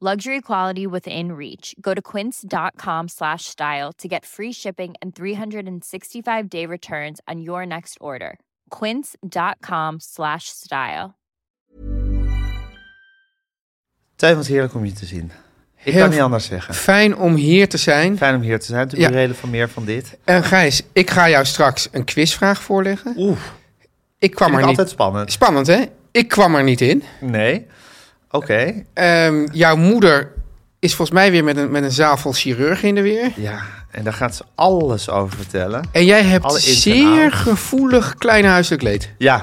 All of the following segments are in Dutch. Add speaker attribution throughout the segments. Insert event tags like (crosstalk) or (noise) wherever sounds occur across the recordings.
Speaker 1: Luxury quality within reach. Go to quince.com slash style to get free shipping and 365 day returns on your next order. Quince.com slash style.
Speaker 2: Tijf, wat heerlijk om je te zien. Ik
Speaker 3: Heel
Speaker 2: kan niet
Speaker 3: f-
Speaker 2: anders zeggen.
Speaker 3: Fijn om hier te zijn.
Speaker 2: Fijn om hier te zijn. Natuurlijk
Speaker 3: Ja.
Speaker 2: de reden van meer van dit.
Speaker 3: En Gijs, ik ga jou straks een quizvraag voorleggen.
Speaker 2: Oeh,
Speaker 3: Ik kwam
Speaker 2: vind
Speaker 3: er
Speaker 2: ik
Speaker 3: niet...
Speaker 2: altijd spannend.
Speaker 3: Spannend, hè? Ik kwam er niet in.
Speaker 2: Nee. Oké.
Speaker 3: Ehm, jouw moeder is volgens mij weer met een, met een zaal vol chirurgen in de weer.
Speaker 2: Ja, en daar gaat ze alles over vertellen.
Speaker 3: En jij hebt
Speaker 2: Alle ins en
Speaker 3: zeer
Speaker 2: outs.
Speaker 3: gevoelig klein huiselijk leed.
Speaker 2: Ja,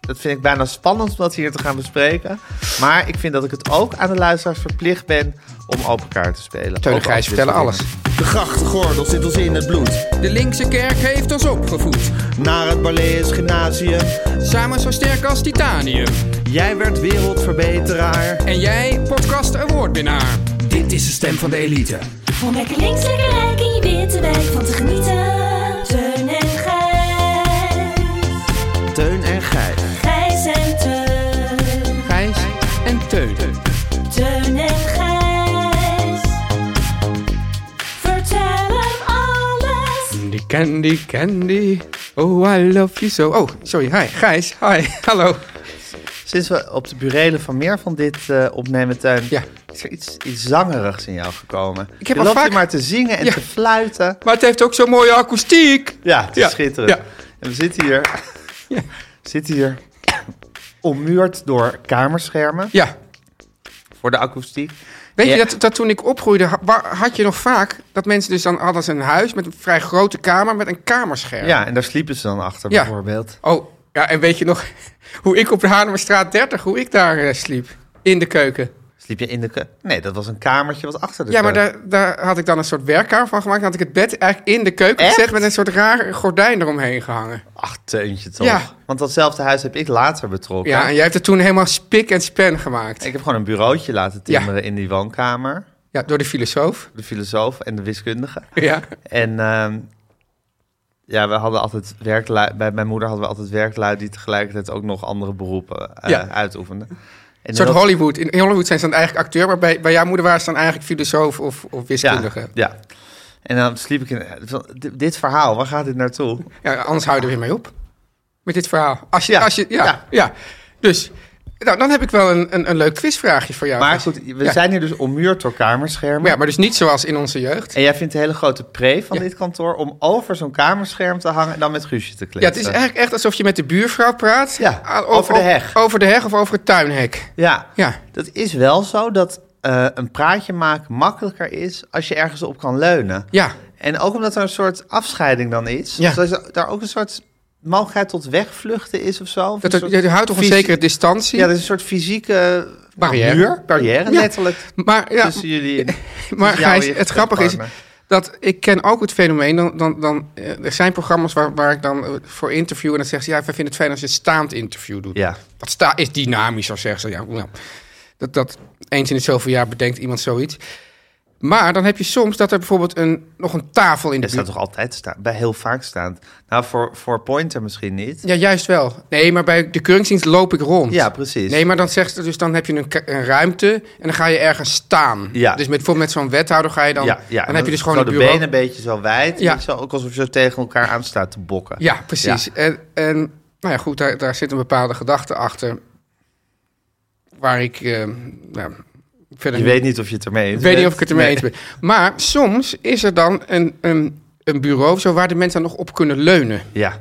Speaker 2: dat vind ik bijna spannend om dat hier te gaan bespreken. Maar ik vind dat ik het ook aan de luisteraars verplicht ben om open kaart te spelen.
Speaker 3: Teun en
Speaker 2: Ook over
Speaker 3: Gijs
Speaker 2: dit
Speaker 3: vertellen
Speaker 2: soort
Speaker 3: alles.
Speaker 4: De grachtengordel zit ons in het bloed.
Speaker 3: De linkse kerk heeft ons opgevoed.
Speaker 4: Naar het Barlees Gymnasium.
Speaker 3: Samen zo sterk als titanium.
Speaker 4: Jij werd wereldverbeteraar.
Speaker 3: En jij podcast awardwinnaar.
Speaker 5: Dit is de stem van de elite.
Speaker 6: Om lekker links, lekker rijk in je witte wijk van te genieten. Teun en Gijs.
Speaker 4: Teun en Gijs.
Speaker 6: Gijs en Teun.
Speaker 3: Gijs en Teun.
Speaker 6: Teun en Gijs. Vertel hem alles.
Speaker 3: Candy, candy, candy. Oh, I love you so. Oh, sorry. Hi, Gijs. Hi. (laughs) Hallo.
Speaker 2: Sinds we op de burelen van meer van dit eh, opnemen, Tuin,
Speaker 3: Ja.
Speaker 2: is er iets, iets zangerigs in jou gekomen. Ik
Speaker 3: heb
Speaker 2: je
Speaker 3: al
Speaker 2: loopt
Speaker 3: vaak-
Speaker 2: hier maar te zingen en
Speaker 3: Ja.
Speaker 2: te fluiten.
Speaker 3: Maar het heeft ook zo'n mooie akoestiek.
Speaker 2: Ja, het is
Speaker 3: Ja,
Speaker 2: schitterend.
Speaker 3: ja.
Speaker 2: En we zitten hier,
Speaker 3: Ja.
Speaker 2: zitten hier ommuurd door kamerschermen
Speaker 3: Ja.
Speaker 2: voor de akoestiek.
Speaker 3: Weet
Speaker 2: Ja.
Speaker 3: je dat, dat toen ik opgroeide, ha- wa- had je nog vaak dat mensen dus dan hadden ze een huis met een vrij grote kamer met een kamerscherm.
Speaker 2: Ja, en daar sliepen ze dan achter
Speaker 3: Ja.
Speaker 2: bijvoorbeeld.
Speaker 3: Oh, ja, en weet je nog (laughs) hoe ik op de Haarlemmerstraat 30, hoe ik daar eh, sliep? In de keuken.
Speaker 2: Sliep je in de... ke- Nee, dat was een kamertje wat achter de
Speaker 3: Ja, maar
Speaker 2: keuken-
Speaker 3: daar, daar had ik dan een soort werkkamer van gemaakt. Dan had ik het bed eigenlijk in de keuken
Speaker 2: Echt?
Speaker 3: gezet met een soort raar gordijn eromheen gehangen.
Speaker 2: Ach, teuntje toch.
Speaker 3: Ja.
Speaker 2: Want datzelfde huis heb ik later betrokken.
Speaker 3: Ja, en jij hebt het toen helemaal spik en span gemaakt.
Speaker 2: Ik heb gewoon een bureautje laten
Speaker 3: Ja.
Speaker 2: timmeren in die woonkamer.
Speaker 3: Ja, door de
Speaker 2: (laughs)
Speaker 3: filosoof.
Speaker 2: De filosoof en de wiskundige.
Speaker 3: Ja.
Speaker 2: En ehm, ja, we hadden altijd werklui... Bij mijn moeder hadden we altijd werklui die tegelijkertijd ook nog andere beroepen eh,
Speaker 3: Ja.
Speaker 2: uitoefenden. En
Speaker 3: Een soort
Speaker 2: dat-
Speaker 3: Hollywood. In in Hollywood zijn ze dan eigenlijk acteur, maar bij, bij jouw moeder waren ze dan eigenlijk filosoof of, of wiskundige.
Speaker 2: Ja, ja. En dan sliep ik in... eh, van, di- Dit verhaal, waar gaat dit naartoe?
Speaker 3: Ja. anders houden we weer mee op. Met dit verhaal. Als je,
Speaker 2: Ja.
Speaker 3: Als je, ja,
Speaker 2: Ja.
Speaker 3: ja. Dus, nou, dan heb ik wel een, een, een leuk quizvraagje voor jou.
Speaker 2: Maar goed, we
Speaker 3: Ja.
Speaker 2: zijn hier dus ommuurd door kamerschermen.
Speaker 3: Maar ja, maar dus niet zoals in onze jeugd.
Speaker 2: En jij vindt de hele grote pre van
Speaker 3: Ja.
Speaker 2: dit kantoor om over zo'n kamerscherm te hangen en dan met Guusje te kletsen.
Speaker 3: Ja, het is eigenlijk echt alsof je met de buurvrouw praat.
Speaker 2: eh, Ja,
Speaker 3: Ah,
Speaker 2: over de heg.
Speaker 3: Over de heg of over het tuinhek.
Speaker 2: Ja,
Speaker 3: Ja.
Speaker 2: dat is wel zo dat eh, een praatje maken makkelijker is als je ergens op kan leunen.
Speaker 3: Ja,
Speaker 2: En ook omdat er een soort afscheiding dan is.
Speaker 3: Ja.
Speaker 2: Dus dat daar ook een soort mogelijkheid tot wegvluchten is of zo. Of
Speaker 3: dat,
Speaker 2: een soort
Speaker 3: je houdt toch een
Speaker 2: fysi-
Speaker 3: zekere distantie.
Speaker 2: Ja, dat is een soort fysieke
Speaker 3: Barrière.
Speaker 2: muur, barrière
Speaker 3: Ja. (laughs)
Speaker 2: letterlijk.
Speaker 3: maar ja,
Speaker 2: Tussen jullie. en-
Speaker 3: (laughs) Maar
Speaker 2: tussen jou en
Speaker 3: Gijs,
Speaker 2: je
Speaker 3: het grappige is
Speaker 2: partner.
Speaker 3: dat ik ken ook het fenomeen. Dan, dan, dan, eh, er zijn programma's waar, waar ik dan eh, voor interview en dan zeggen ze ja, we vinden het fijn als je een staand interview doet.
Speaker 2: Ja.
Speaker 3: Dat sta is dynamischer, zeggen ze. Ja, nou, dat, dat eens in het zoveel jaar bedenkt iemand zoiets. Maar dan heb je soms dat er bijvoorbeeld een, nog een tafel in de
Speaker 2: Dat staat
Speaker 3: buurt.
Speaker 2: toch altijd staan, bij heel vaak staand. Nou, voor, voor Pointer misschien niet.
Speaker 3: Ja, juist wel. Nee, maar bij de keuringsdienst loop ik rond.
Speaker 2: Ja, precies.
Speaker 3: Nee, maar dan zegt ze dus dan heb je een, ka- een ruimte en dan ga je ergens staan.
Speaker 2: Ja.
Speaker 3: Dus met, bijvoorbeeld met zo'n wethouder ga je dan.
Speaker 2: ja, ja.
Speaker 3: Dan heb je dus gewoon
Speaker 2: zo
Speaker 3: een
Speaker 2: de
Speaker 3: bureau.
Speaker 2: benen een beetje zo wijd.
Speaker 3: Ja.
Speaker 2: Ja. Zo, ook alsof je zo tegen elkaar aan staat te bokken.
Speaker 3: Ja, precies.
Speaker 2: Ja.
Speaker 3: En, en nou ja, goed, daar, daar zit een bepaalde gedachte achter. Waar ik eh, nou, verder
Speaker 2: Je weet niet of je het ermee eens
Speaker 3: ik weet niet
Speaker 2: bent.
Speaker 3: of ik het ermee
Speaker 2: Nee.
Speaker 3: eens ben. Maar soms is er dan een, een, een bureau of zo waar de mensen dan nog op kunnen leunen.
Speaker 2: Ja.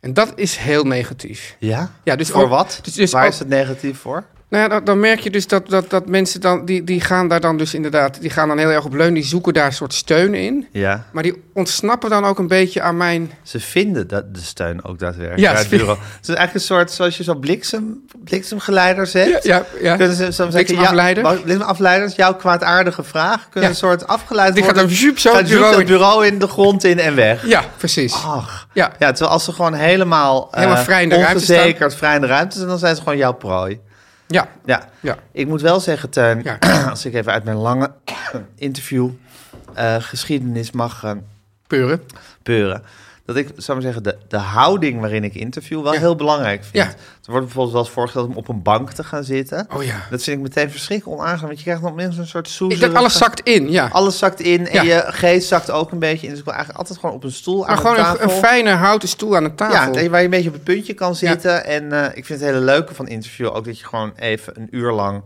Speaker 3: En dat is heel negatief.
Speaker 2: Ja?
Speaker 3: Ja, dus
Speaker 2: voor
Speaker 3: ook-
Speaker 2: wat?
Speaker 3: dus- dus
Speaker 2: Waar
Speaker 3: ook-
Speaker 2: is het negatief voor?
Speaker 3: Nou ja, dan, dan merk je dus dat, dat, dat mensen dan, die, die gaan daar dan dus inderdaad, die gaan dan heel erg op leunen, die zoeken daar een soort steun in.
Speaker 2: Ja.
Speaker 3: Maar die ontsnappen dan ook een beetje aan mijn.
Speaker 2: Ze vinden dat de steun ook daadwerkelijk
Speaker 3: Ja,
Speaker 2: uit
Speaker 3: ze
Speaker 2: het bureau. Het is eigenlijk een soort, zoals je zo'n bliksem, bliksemgeleider zet.
Speaker 3: Ja, ja, ja.
Speaker 2: Kunnen ze zo zeggen,
Speaker 3: Bliksemafleider.
Speaker 2: Ja, bliksemafleiders, jouw kwaadaardige vraag. Kunnen
Speaker 3: Ja.
Speaker 2: een soort afgeleid
Speaker 3: Die gaat
Speaker 2: worden.
Speaker 3: dan zoep zo
Speaker 2: Gaat
Speaker 3: het
Speaker 2: zoep
Speaker 3: bureau
Speaker 2: dat bureau in de grond in en weg.
Speaker 3: Ja, precies.
Speaker 2: Ach.
Speaker 3: Ja.
Speaker 2: Ja, terwijl als ze gewoon helemaal, eh,
Speaker 3: Helemaal vrij in de ruimte
Speaker 2: ongezekerd, vrij in de ruimte zijn, dan zijn ze gewoon jouw prooi.
Speaker 3: Ja,
Speaker 2: Ja.
Speaker 3: Ja.
Speaker 2: Ik moet wel zeggen, Teun,
Speaker 3: Ja.
Speaker 2: (clears throat) als ik even uit mijn lange (clears throat) interview eh, geschiedenis mag eh,
Speaker 3: peuren.
Speaker 2: peuren. Dat ik, zou maar zeggen, de, de houding waarin ik interview wel heel belangrijk vind.
Speaker 3: Ja.
Speaker 2: Er wordt bijvoorbeeld wel eens voorgesteld om op een bank te gaan zitten.
Speaker 3: Oh ja.
Speaker 2: Dat vind ik meteen verschrikkelijk onaangenaam, want je krijgt dan minstens een soort
Speaker 3: Ik,
Speaker 2: soezerige...
Speaker 3: dat alles zakt in, ja.
Speaker 2: Alles zakt in en
Speaker 3: Ja.
Speaker 2: je geest zakt ook een beetje in. Dus ik wil eigenlijk altijd gewoon op een stoel aan
Speaker 3: maar Ah, gewoon
Speaker 2: een
Speaker 3: een,
Speaker 2: tafel.
Speaker 3: een fijne houten stoel aan de
Speaker 2: Ja,
Speaker 3: tafel.
Speaker 2: dat je- waar je een beetje op het puntje kan
Speaker 3: Ja.
Speaker 2: zitten. En eh, ik vind het hele leuke van interview ook dat je gewoon even een uur lang...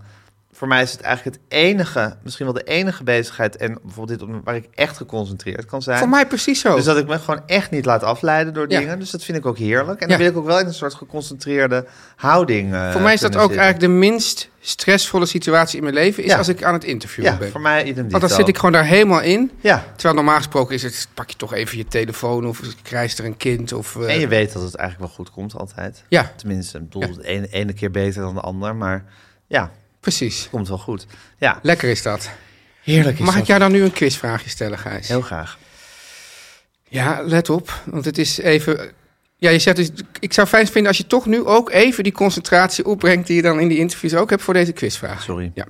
Speaker 2: Voor mij is het eigenlijk het enige, misschien wel de enige bezigheid... en bijvoorbeeld dit op- waar ik echt geconcentreerd kan zijn.
Speaker 3: Voor mij precies zo.
Speaker 2: Dus dat ik me gewoon echt niet laat afleiden door
Speaker 3: Ja.
Speaker 2: dingen. Dus dat vind ik ook heerlijk. En
Speaker 3: Ja.
Speaker 2: dan wil ik ook wel in een soort geconcentreerde houding. eh,
Speaker 3: voor mij is dat ook
Speaker 2: kunnen zitten.
Speaker 3: eigenlijk de minst stressvolle situatie in mijn leven, is
Speaker 2: Ja.
Speaker 3: als ik aan het interviewen
Speaker 2: Ja,
Speaker 3: ben.
Speaker 2: voor mij idem
Speaker 3: Want Oh, dan
Speaker 2: dito.
Speaker 3: zit ik gewoon daar helemaal in.
Speaker 2: Ja,
Speaker 3: Terwijl normaal gesproken is het, pak je toch even je telefoon of krijgt er een kind of... eh,
Speaker 2: en je weet dat het eigenlijk wel goed komt altijd.
Speaker 3: Ja,
Speaker 2: Tenminste, ik bedoel,
Speaker 3: Ja.
Speaker 2: de ene, ene keer beter dan de ander. Maar ja, het
Speaker 3: precies.
Speaker 2: komt wel goed. Ja,
Speaker 3: Lekker is dat.
Speaker 2: heerlijk
Speaker 3: Mag ik jou dan nu een quizvraagje stellen, Gijs?
Speaker 2: Heel graag.
Speaker 3: Ja, let op, want het is even... Ja, je zegt dus, ik zou fijn vinden als je toch nu ook even die concentratie opbrengt... die je dan in die interviews ook hebt voor deze quizvraag.
Speaker 2: Sorry.
Speaker 3: Ja.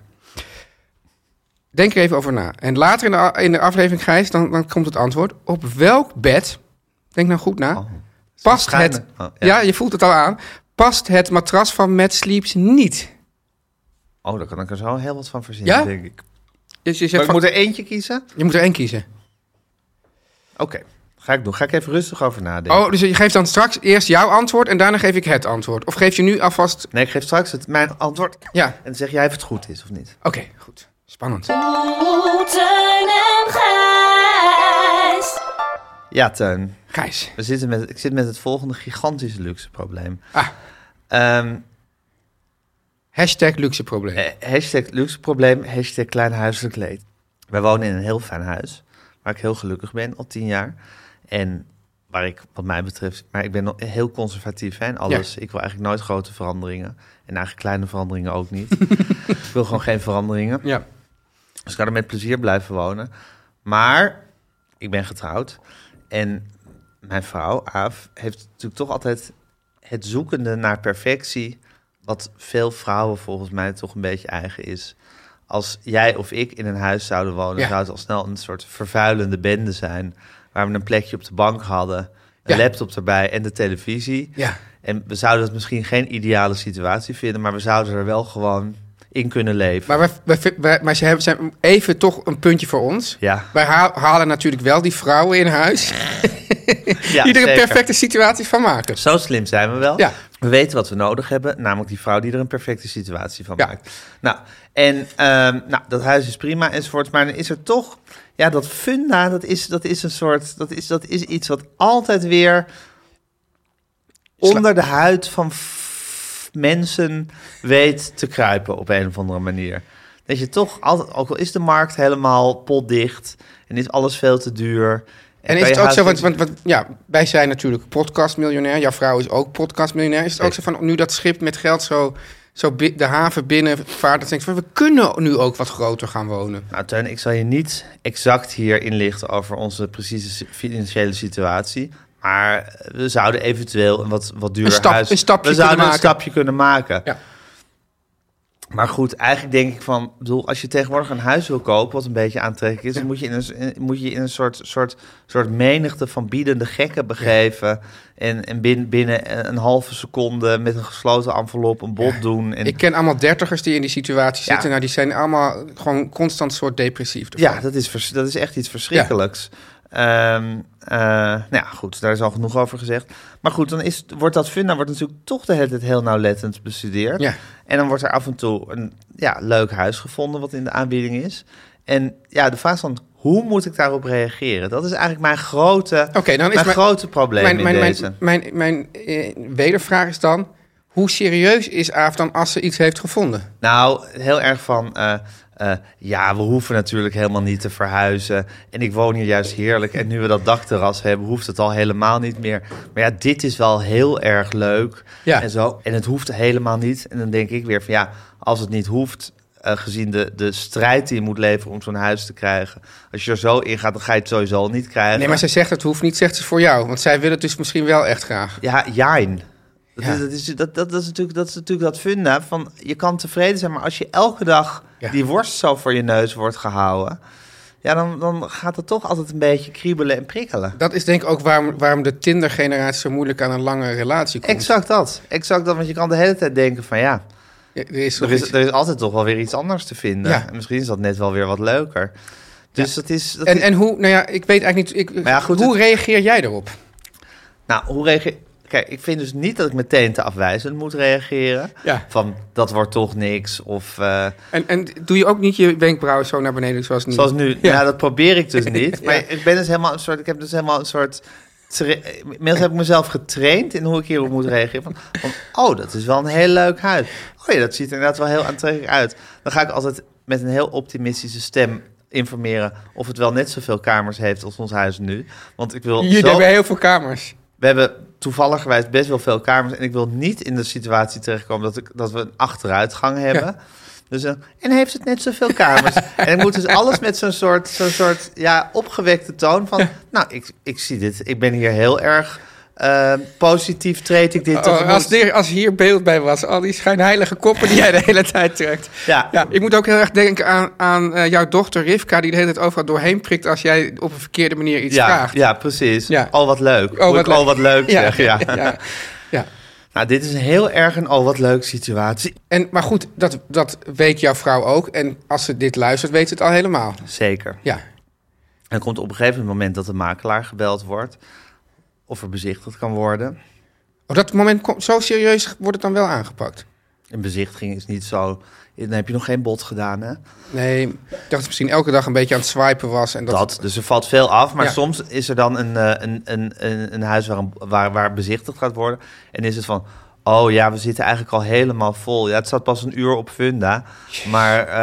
Speaker 3: Denk er even over na. En later in de, a- in de aflevering, Gijs, dan, dan komt het antwoord. Op welk bed, denk nou goed na, past
Speaker 2: schuine.
Speaker 3: het...
Speaker 2: Oh,
Speaker 3: ja.
Speaker 2: ja.
Speaker 3: je voelt het al aan. Past het matras van Matt Sleeps niet?
Speaker 2: Oh, daar kan ik er zo heel wat van verzinnen,
Speaker 3: Ja?
Speaker 2: denk ik.
Speaker 3: Dus je,
Speaker 2: Maar
Speaker 3: zegt
Speaker 2: ik
Speaker 3: van-
Speaker 2: moet er eentje kiezen?
Speaker 3: je moet er één kiezen.
Speaker 2: Oké, ga ik doen. Ga ik even rustig over nadenken.
Speaker 3: Oh, dus je geeft dan straks eerst jouw antwoord en daarna geef ik het antwoord. Of geef je nu alvast...
Speaker 2: Nee, ik geef straks het, mijn antwoord.
Speaker 3: Ja,
Speaker 2: En zeg jij of het goed is of niet.
Speaker 3: oké, goed. Spannend.
Speaker 6: Oeh, Oh, Teun en Gijs.
Speaker 2: Ja, Teun.
Speaker 3: Gijs.
Speaker 2: We zitten met, ik zit met het volgende gigantische luxe probleem.
Speaker 3: Ah,
Speaker 2: Ehm,
Speaker 3: hashtag luxe probleem.
Speaker 2: eh, hashtag luxe probleem, hashtag klein huiselijk leed. Wij wonen in een heel fijn huis, waar ik heel gelukkig ben al tien jaar. En waar ik, wat mij betreft, maar ik ben nog heel conservatief hè, in alles. Ik wil eigenlijk nooit grote veranderingen. En eigenlijk kleine veranderingen ook niet. (laughs) ik wil gewoon geen veranderingen.
Speaker 3: Ja.
Speaker 2: Dus ik kan er met plezier blijven wonen. Maar ik ben getrouwd. En mijn vrouw, Aaf, heeft natuurlijk toch altijd het zoekende naar perfectie. Wat veel vrouwen volgens mij toch een beetje eigen is. Als jij of ik in een huis zouden wonen,
Speaker 3: Ja.
Speaker 2: zou het al snel een soort vervuilende bende zijn. Waar we een plekje op de bank hadden, een
Speaker 3: Ja.
Speaker 2: laptop erbij en de televisie.
Speaker 3: Ja.
Speaker 2: En we zouden het misschien geen ideale situatie vinden, maar we zouden er wel gewoon in kunnen leven.
Speaker 3: Maar, wij, wij, vi- wij- maar ze hebben, zijn even toch een puntje voor ons.
Speaker 2: Ja.
Speaker 3: Wij ha- halen natuurlijk wel die vrouwen in huis.
Speaker 2: Ja,
Speaker 3: die er een
Speaker 2: zeker.
Speaker 3: perfecte situatie van maken.
Speaker 2: Zo slim zijn we wel.
Speaker 3: Ja.
Speaker 2: We weten wat we nodig hebben, namelijk die vrouw die er een perfecte situatie van
Speaker 3: Ja.
Speaker 2: maakt. Nou, en ehm, nou, dat huis is prima enzovoort, maar dan is er toch, ja, dat funda, dat is, dat is een soort, dat is, dat is iets wat altijd weer onder de huid van f- mensen weet te kruipen op een of andere manier. Dat je toch altijd, ook al is de markt helemaal potdicht en is alles veel te duur.
Speaker 3: En
Speaker 2: kan
Speaker 3: is het
Speaker 2: je
Speaker 3: ook
Speaker 2: haast
Speaker 3: zo, want,
Speaker 2: niet-
Speaker 3: want, want ja, wij zijn natuurlijk podcastmiljonair. Jouw vrouw is ook podcastmiljonair. Is het ook zo van, nu dat schip met geld zo, zo bi- de haven binnen vaart... dat je denkt van, we kunnen nu ook wat groter gaan wonen.
Speaker 2: Nou, Teun, ik zal je niet exact hier inlichten over onze precieze si- financiële situatie. Maar we zouden eventueel een wat, wat duurder
Speaker 3: Een stap-
Speaker 2: huis...
Speaker 3: een stapje
Speaker 2: we zouden
Speaker 3: kunnen
Speaker 2: een
Speaker 3: maken.
Speaker 2: stapje kunnen maken.
Speaker 3: Ja.
Speaker 2: Maar goed, eigenlijk denk ik van... ik bedoel, als je tegenwoordig een huis wil kopen, wat een beetje aantrekkelijk is... dan moet je in een, s- in- moet je in een soort, soort, soort menigte van biedende gekken begeven... en, en binnen, binnen een halve seconde met een gesloten envelop een bod doen... En
Speaker 3: Ik ken allemaal dertigers die in die situatie
Speaker 2: Ja.
Speaker 3: zitten. Nou, die zijn allemaal gewoon constant soort depressief. ervan.
Speaker 2: Ja, dat is, vers- dat is echt iets verschrikkelijks. Ehm, eh, nou ja, goed, daar is al genoeg over gezegd. Maar goed, dan is, wordt dat funda wordt natuurlijk toch de hele tijd heel nauwlettend bestudeerd.
Speaker 3: Ja.
Speaker 2: En dan wordt er af en toe een ja, leuk huis gevonden wat in de aanbieding is. En ja, de vraag is dan, Hoe moet ik daarop reageren? Dat is eigenlijk mijn grote,
Speaker 3: Oké, dan is
Speaker 2: mijn
Speaker 3: mijn-
Speaker 2: grote probleem
Speaker 3: Mijn,
Speaker 2: in
Speaker 3: mijn,
Speaker 2: deze.
Speaker 3: mijn, mijn, mijn, eh, wedervraag is dan... Hoe serieus is Aaf dan als ze iets heeft gevonden?
Speaker 2: Nou, heel erg van. eh, eh, ja, we hoeven natuurlijk helemaal niet te verhuizen. En ik woon hier juist heerlijk. En nu we dat dakterras hebben, hoeft het al helemaal niet meer. Maar ja, dit is wel heel erg leuk.
Speaker 3: Ja.
Speaker 2: En, zo. en het hoeft helemaal niet. En dan denk ik weer van ja, als het niet hoeft. eh, gezien de, de strijd die je moet leveren om zo'n huis te krijgen. Als je er zo in gaat, dan ga je het sowieso al niet krijgen.
Speaker 3: Nee, maar zij zegt het hoeft niet, zegt ze voor jou. Want zij wil het dus misschien wel echt graag.
Speaker 2: Ja, jijn. Dat,
Speaker 3: Ja.
Speaker 2: Is, dat, is, dat, dat, dat is natuurlijk, dat is natuurlijk dat funda van je kan tevreden zijn, maar als je elke dag
Speaker 3: Ja.
Speaker 2: die worst zo voor je neus wordt gehouden, ja, dan, dan gaat het toch altijd een beetje kriebelen en prikkelen.
Speaker 3: Dat is denk ik ook waarom, waarom de Tinder-generatie zo moeilijk aan een lange relatie komt.
Speaker 2: Exact dat. Exact dat, want je kan de hele tijd denken van ja,
Speaker 3: Ja, Er is
Speaker 2: er
Speaker 3: nog
Speaker 2: is,
Speaker 3: iets-
Speaker 2: er is altijd toch wel weer iets anders te vinden.
Speaker 3: Ja.
Speaker 2: En misschien is dat net wel weer wat leuker. Dus dat is... Dat
Speaker 3: En,
Speaker 2: is-
Speaker 3: en hoe, nou ja, ik weet eigenlijk niet... Ik,
Speaker 2: Maar ja, goed,
Speaker 3: hoe
Speaker 2: het-
Speaker 3: reageer jij erop?
Speaker 2: Nou, hoe reageer... Kijk, ik vind dus niet dat ik meteen te afwijzend moet reageren.
Speaker 3: Ja.
Speaker 2: Van, dat wordt toch niks, of... eh,
Speaker 3: En, en doe je ook niet je wenkbrauwen zo naar beneden zoals nu?
Speaker 2: Zoals nu. Ja, dat probeer ik
Speaker 3: (laughs)
Speaker 2: dus niet. Maar
Speaker 3: Ja.
Speaker 2: ik ben dus helemaal een soort. Ik heb dus helemaal een soort. tra- Inmiddels heb ik mezelf getraind in hoe ik hierop moet reageren. Van, van, oh, dat is wel een heel leuk huis. Oh ja, dat ziet er inderdaad wel heel aantrekkelijk uit. Dan ga ik altijd met een heel optimistische stem informeren of het wel net zoveel kamers heeft als ons huis nu. Want ik wil
Speaker 3: Hier
Speaker 2: zo-
Speaker 3: hebben we heel veel kamers.
Speaker 2: we hebben toevallig best wel veel kamers. En ik wil niet in de situatie terechtkomen dat, ik, dat we een achteruitgang hebben. Dus, eh, en heeft het net zoveel
Speaker 3: (laughs)
Speaker 2: kamers. en ik moet dus alles met zo'n soort, zo'n soort ja, opgewekte toon van... Nou, ik, ik zie dit. Ik ben hier heel erg eh, positief. Treed ik dit
Speaker 3: Oh,
Speaker 2: tegemoet.
Speaker 3: als, er- als hier beeld bij was, al die schijnheilige koppen die jij de hele tijd trekt.
Speaker 2: Ja.
Speaker 3: Ja, ik moet ook heel erg denken aan, aan eh, jouw dochter Rivka, die de hele tijd overal doorheen prikt als jij op een verkeerde manier iets
Speaker 2: ja,
Speaker 3: vraagt.
Speaker 2: ja, precies.
Speaker 3: Ja.
Speaker 2: Oh, wat leuk.
Speaker 3: Oh,
Speaker 2: Moet
Speaker 3: wat
Speaker 2: ik, oh,
Speaker 3: leuk.
Speaker 2: wat leuk
Speaker 3: (laughs) Ja,
Speaker 2: zeggen. Ja.
Speaker 3: ja, ja.
Speaker 2: Nou, dit is een heel erg een oh, wat leuk situatie.
Speaker 3: En, maar goed, dat, dat weet jouw vrouw ook. En als ze dit luistert, weet ze het al helemaal.
Speaker 2: Zeker.
Speaker 3: Ja,
Speaker 2: En er komt op een gegeven moment dat de makelaar gebeld wordt... of er bezichtigd kan worden...
Speaker 3: op Oh, dat moment komt zo serieus wordt het dan wel aangepakt.
Speaker 2: Een bezichtiging is niet zo. Dan heb je nog geen bot gedaan, hè?
Speaker 3: Nee, ik dacht dat ze misschien elke dag een beetje aan het swipen was. En dat,
Speaker 2: Dat, dus er valt veel af. Maar
Speaker 3: Ja.
Speaker 2: soms is er dan een, eh, een, een, een, een huis waar, een- waar, waar bezichtigd gaat worden. En is het van. Oh ja, we zitten eigenlijk al helemaal vol. Ja, het staat pas een uur op Funda. Maar eh,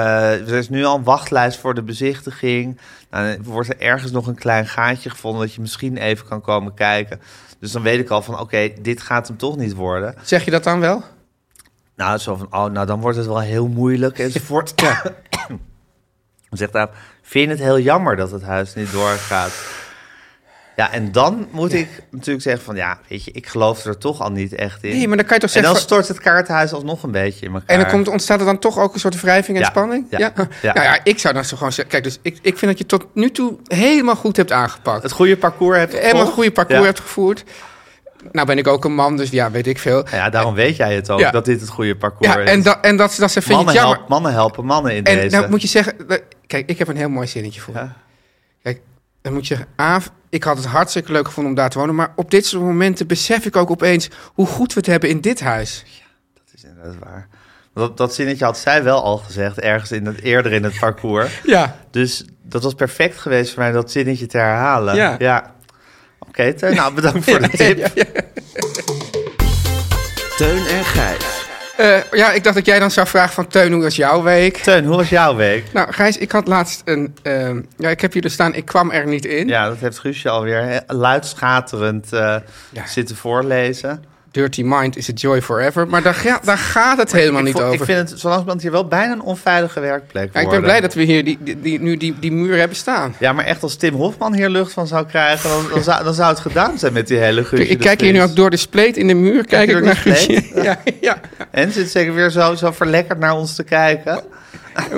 Speaker 2: er is nu al een wachtlijst voor de bezichtiging. Nou, dan wordt er ergens nog een klein gaatje gevonden dat je misschien even kan komen kijken. Dus dan weet ik al van, oké, dit gaat hem toch niet worden.
Speaker 3: Zeg je dat dan wel?
Speaker 2: Nou, zo van, oh, nou dan wordt het wel heel moeilijk enzovoort. Dan zegt Aap, vind je het heel jammer dat het huis niet doorgaat? Ja, en dan moet ik natuurlijk zeggen van, ja, weet je, ik geloof er toch al niet echt in.
Speaker 3: Nee, maar dan kan je
Speaker 2: en
Speaker 3: toch zeggen...
Speaker 2: dan
Speaker 3: van-
Speaker 2: stort het kaarthuis alsnog een beetje in elkaar.
Speaker 3: En dan komt, ontstaat er dan toch ook een soort wrijving en
Speaker 2: Eh. Ja,
Speaker 3: spanning?
Speaker 2: ja,
Speaker 3: Ja.
Speaker 2: ja.
Speaker 3: Nou ja, ik zou dan zo gewoon zeggen... Kijk, dus ik, ik vind dat je tot nu toe helemaal goed hebt aangepakt.
Speaker 2: Het goede parcours hebt
Speaker 3: helemaal een
Speaker 2: gevolgd.
Speaker 3: goede parcours
Speaker 2: Ja.
Speaker 3: hebt gevoerd. Nou ben ik ook een man, dus ja, weet ik veel.
Speaker 2: Nou Ja, daarom weet jij het ook,
Speaker 3: Ja.
Speaker 2: dat dit het goede parcours
Speaker 3: Ja,
Speaker 2: is.
Speaker 3: en, da, en dat, ze- dat ze vind je
Speaker 2: mannen,
Speaker 3: het jammer.
Speaker 2: help- mannen helpen mannen in
Speaker 3: en
Speaker 2: deze.
Speaker 3: dan moet je zeggen... dat- Kijk, ik heb een heel mooi zinnetje voor. je.
Speaker 2: Ja.
Speaker 3: Kijk, dan moet je zeggen... Aaf, ik had het hartstikke leuk gevonden om daar te wonen... maar op dit soort momenten besef ik ook opeens... hoe goed we het hebben in dit huis.
Speaker 2: Dat is inderdaad waar. Dat, dat zinnetje had zij wel al gezegd, ergens in het, eerder in het parcours.
Speaker 3: Ja,
Speaker 2: Dus dat was perfect geweest voor mij dat zinnetje te herhalen.
Speaker 3: Ja.
Speaker 2: Oké, Teun, nou
Speaker 3: (laughs)
Speaker 2: bedankt voor de tip.
Speaker 4: (laughs) Teun en Gijs.
Speaker 3: Eh, ja ik dacht dat jij dan zou vragen van... Teun, hoe was jouw week?
Speaker 2: Teun, hoe was jouw week?
Speaker 3: Nou, Gijs, ik had laatst een. ehm, ja, ik heb hier dus staan, ik kwam er niet in.
Speaker 2: Ja, dat heeft Guusje alweer he- luidschaterend eh,
Speaker 3: Ja.
Speaker 2: zitten voorlezen.
Speaker 3: Dirty Mind is a Joy Forever. Maar daar, ga- daar gaat het helemaal
Speaker 2: ik,
Speaker 3: niet
Speaker 2: vo-
Speaker 3: over.
Speaker 2: Ik vind het zo langzamerhand hier wel bijna een onveilige werkplek
Speaker 3: ja, ik ben
Speaker 2: worden.
Speaker 3: blij dat we hier die, die, die- nu die, die muur hebben staan.
Speaker 2: Ja, maar echt als Tim Hofman hier lucht van zou krijgen... dan, dan, zou, dan zou het gedaan zijn met die hele Guusje.
Speaker 3: ik
Speaker 2: de
Speaker 3: kijk hier nu
Speaker 2: Vries.
Speaker 3: ook door de spleet in de muur. Kijk,
Speaker 2: je
Speaker 3: ik
Speaker 2: door
Speaker 3: naar
Speaker 2: die
Speaker 3: Guusje. (laughs) Ja, ja.
Speaker 2: En zit zeker weer zo, zo verlekkerd naar ons te kijken.